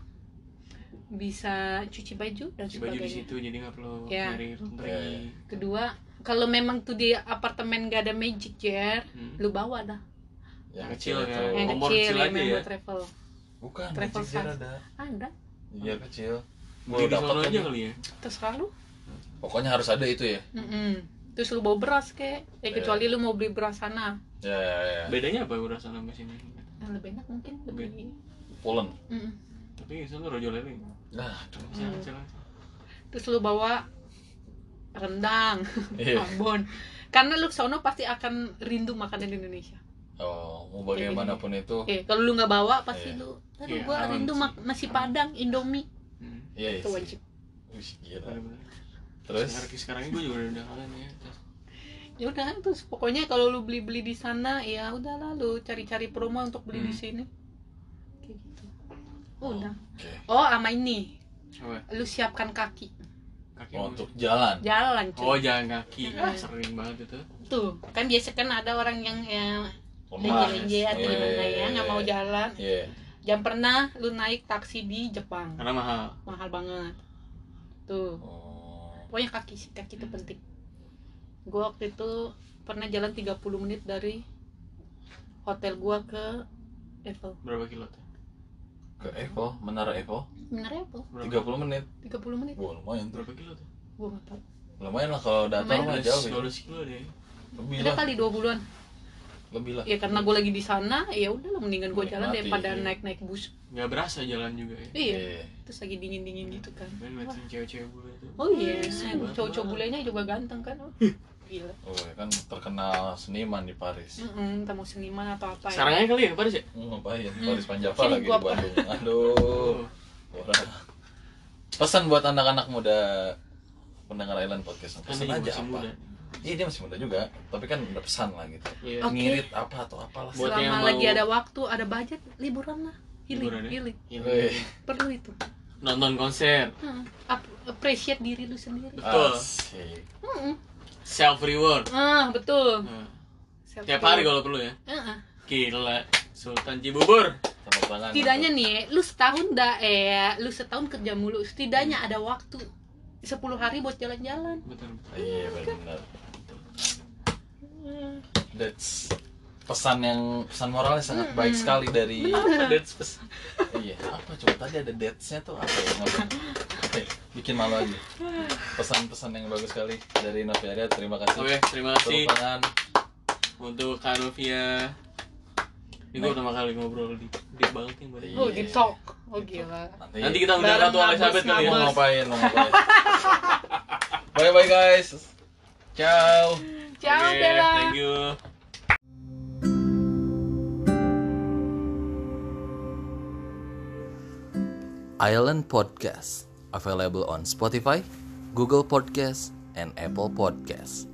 bisa cuci baju dan Cuci baju sebagainya di situ jadi nggak perlu Ya. nyari room Ya, pergi. ya. kedua kalau memang tuh di apartemen gak ada magic jar Hmm. lu bawa dah yang Kecil kecil ya. itu. yang kompor kecil kecil yang aja memang ya? buat travel Bukan, Travel kecil size. ada. ada Iya, kecil. Gua Beli di sono dapat aja lagi. kali ya. terserah lu Pokoknya harus ada itu ya. Mm-mm. terus lu bawa beras kek eh Iya. kecuali lu mau beli beras sana Ya, ya, ya. Bedanya apa udah sana sama sini? yang lebih enak mungkin lebih Pulen. Mm-mm. Tapi sana rojo lele. Nah, aduh. Bisa Hmm. kecil aja. terus lu bawa rendang Iya. abon karena lu sono pasti akan rindu makanan Indonesia Oh, mau bagaimanapun itu. eh kalau lu nggak bawa pasti Iya. lu aduh Iya, gua aman rindu sih. mak- nasi padang indomie Hmm. Iya, itu wajib iya. Wih, gila. Bener-bener. Terus Sekarang- sekarang ini gue juga udah kangen ya. ya udah terus pokoknya kalau lu beli beli di sana ya udah lalu cari cari promo untuk beli di Hmm. sini kayak gitu udah Oke. oh sama ini Apa? lu siapkan kaki Kaki Oh, mau- untuk jalan. jalan Oh cuy Iya. jangan kaki, Jangan. sering banget itu. tuh kan biasa kan ada orang yang ya, lenje-lenje atau gimana ya nggak mau jalan Iya. jangan pernah lu naik taksi di Jepang karena mahal mahal banget tuh Oh. pokoknya kaki sih kaki itu penting gua waktu itu pernah jalan 30 menit dari hotel gua ke Apple berapa kilo tuh? Ke Evo, Menara Evo, sebenarnya Apple berapa, 30 menit. 30 menit Wah, lumayan tuh. berapa kilo tuh? gua nggak tahu Lumayan lah kalau datar Lumayan. mah 12, Iya kan? jauh ya. 12 kilo deh Lebih ada lah, kali dua bulan lebih lah. ya karena gua lagi di sana ya udah lah, mendingan gua jalan Menikmati, daripada iya. naik naik bus nggak berasa jalan juga ya iya Iya. terus lagi dingin dingin gitu kan main ngeliatin cewek-cewek bule tuh oh iya Seru banget. cowok-cowok bulenya juga ganteng kan Oh, gila Oh, ya kan terkenal seniman di Paris. Mm-mm, entah mau seniman atau apa ya sarangnya kali ya Paris ya Hmm, ngapain? Hmm. Paris Panjava Sini lagi di gua apa? Bandung. Aduh. Oh, Orang. Pesan buat anak-anak muda pendengar Island Podcast. kan Pesan dia aja masih muda. apa? Iya, dia masih muda juga, tapi kan udah pesan lah gitu. Iya. Oke. Ngirit apa atau apalah. Buat yang selama mau- lagi ada waktu ada budget liburan lah Liburan healing ya? healing Wih. perlu itu Nonton konser, Hmm, ap- appreciate diri lu sendiri. Betul. Asik. Hmm, self reward. Ah, betul. Nah, Self- tiap hari kalau perlu ya. Ah, ah. Gila, Sultan Cibubur. Tepuk tangan. Setidaknya nih, lu setahun dah eh lu setahun kerja mulu, setidaknya ada waktu 10 hari buat jalan-jalan. Betul. betul. Iya benar. That's pesan yang pesan moralnya sangat baik sekali dari Apa that's pes- iya apa coba tadi ada dates-nya tuh apa ya Ngapain? Eh, bikin malu aja pesan-pesan yang bagus sekali dari Noviaria terima kasih Oke, terima tepuk kasih tangan untuk Karovia. Ini gue pertama kali ngobrol di di banget nih Mbak. Oh, Iya. di talk. Oh gila. nanti, Nanti kita udah Bareng Ratu Elizabeth kali mau ya. ngabus-ngabus. ngapain mau ngapain bye bye guys ciao Ciao Oke, Bella. Thank you. Island Podcast, available on Spotify, Google Podcasts, and Apple Podcasts.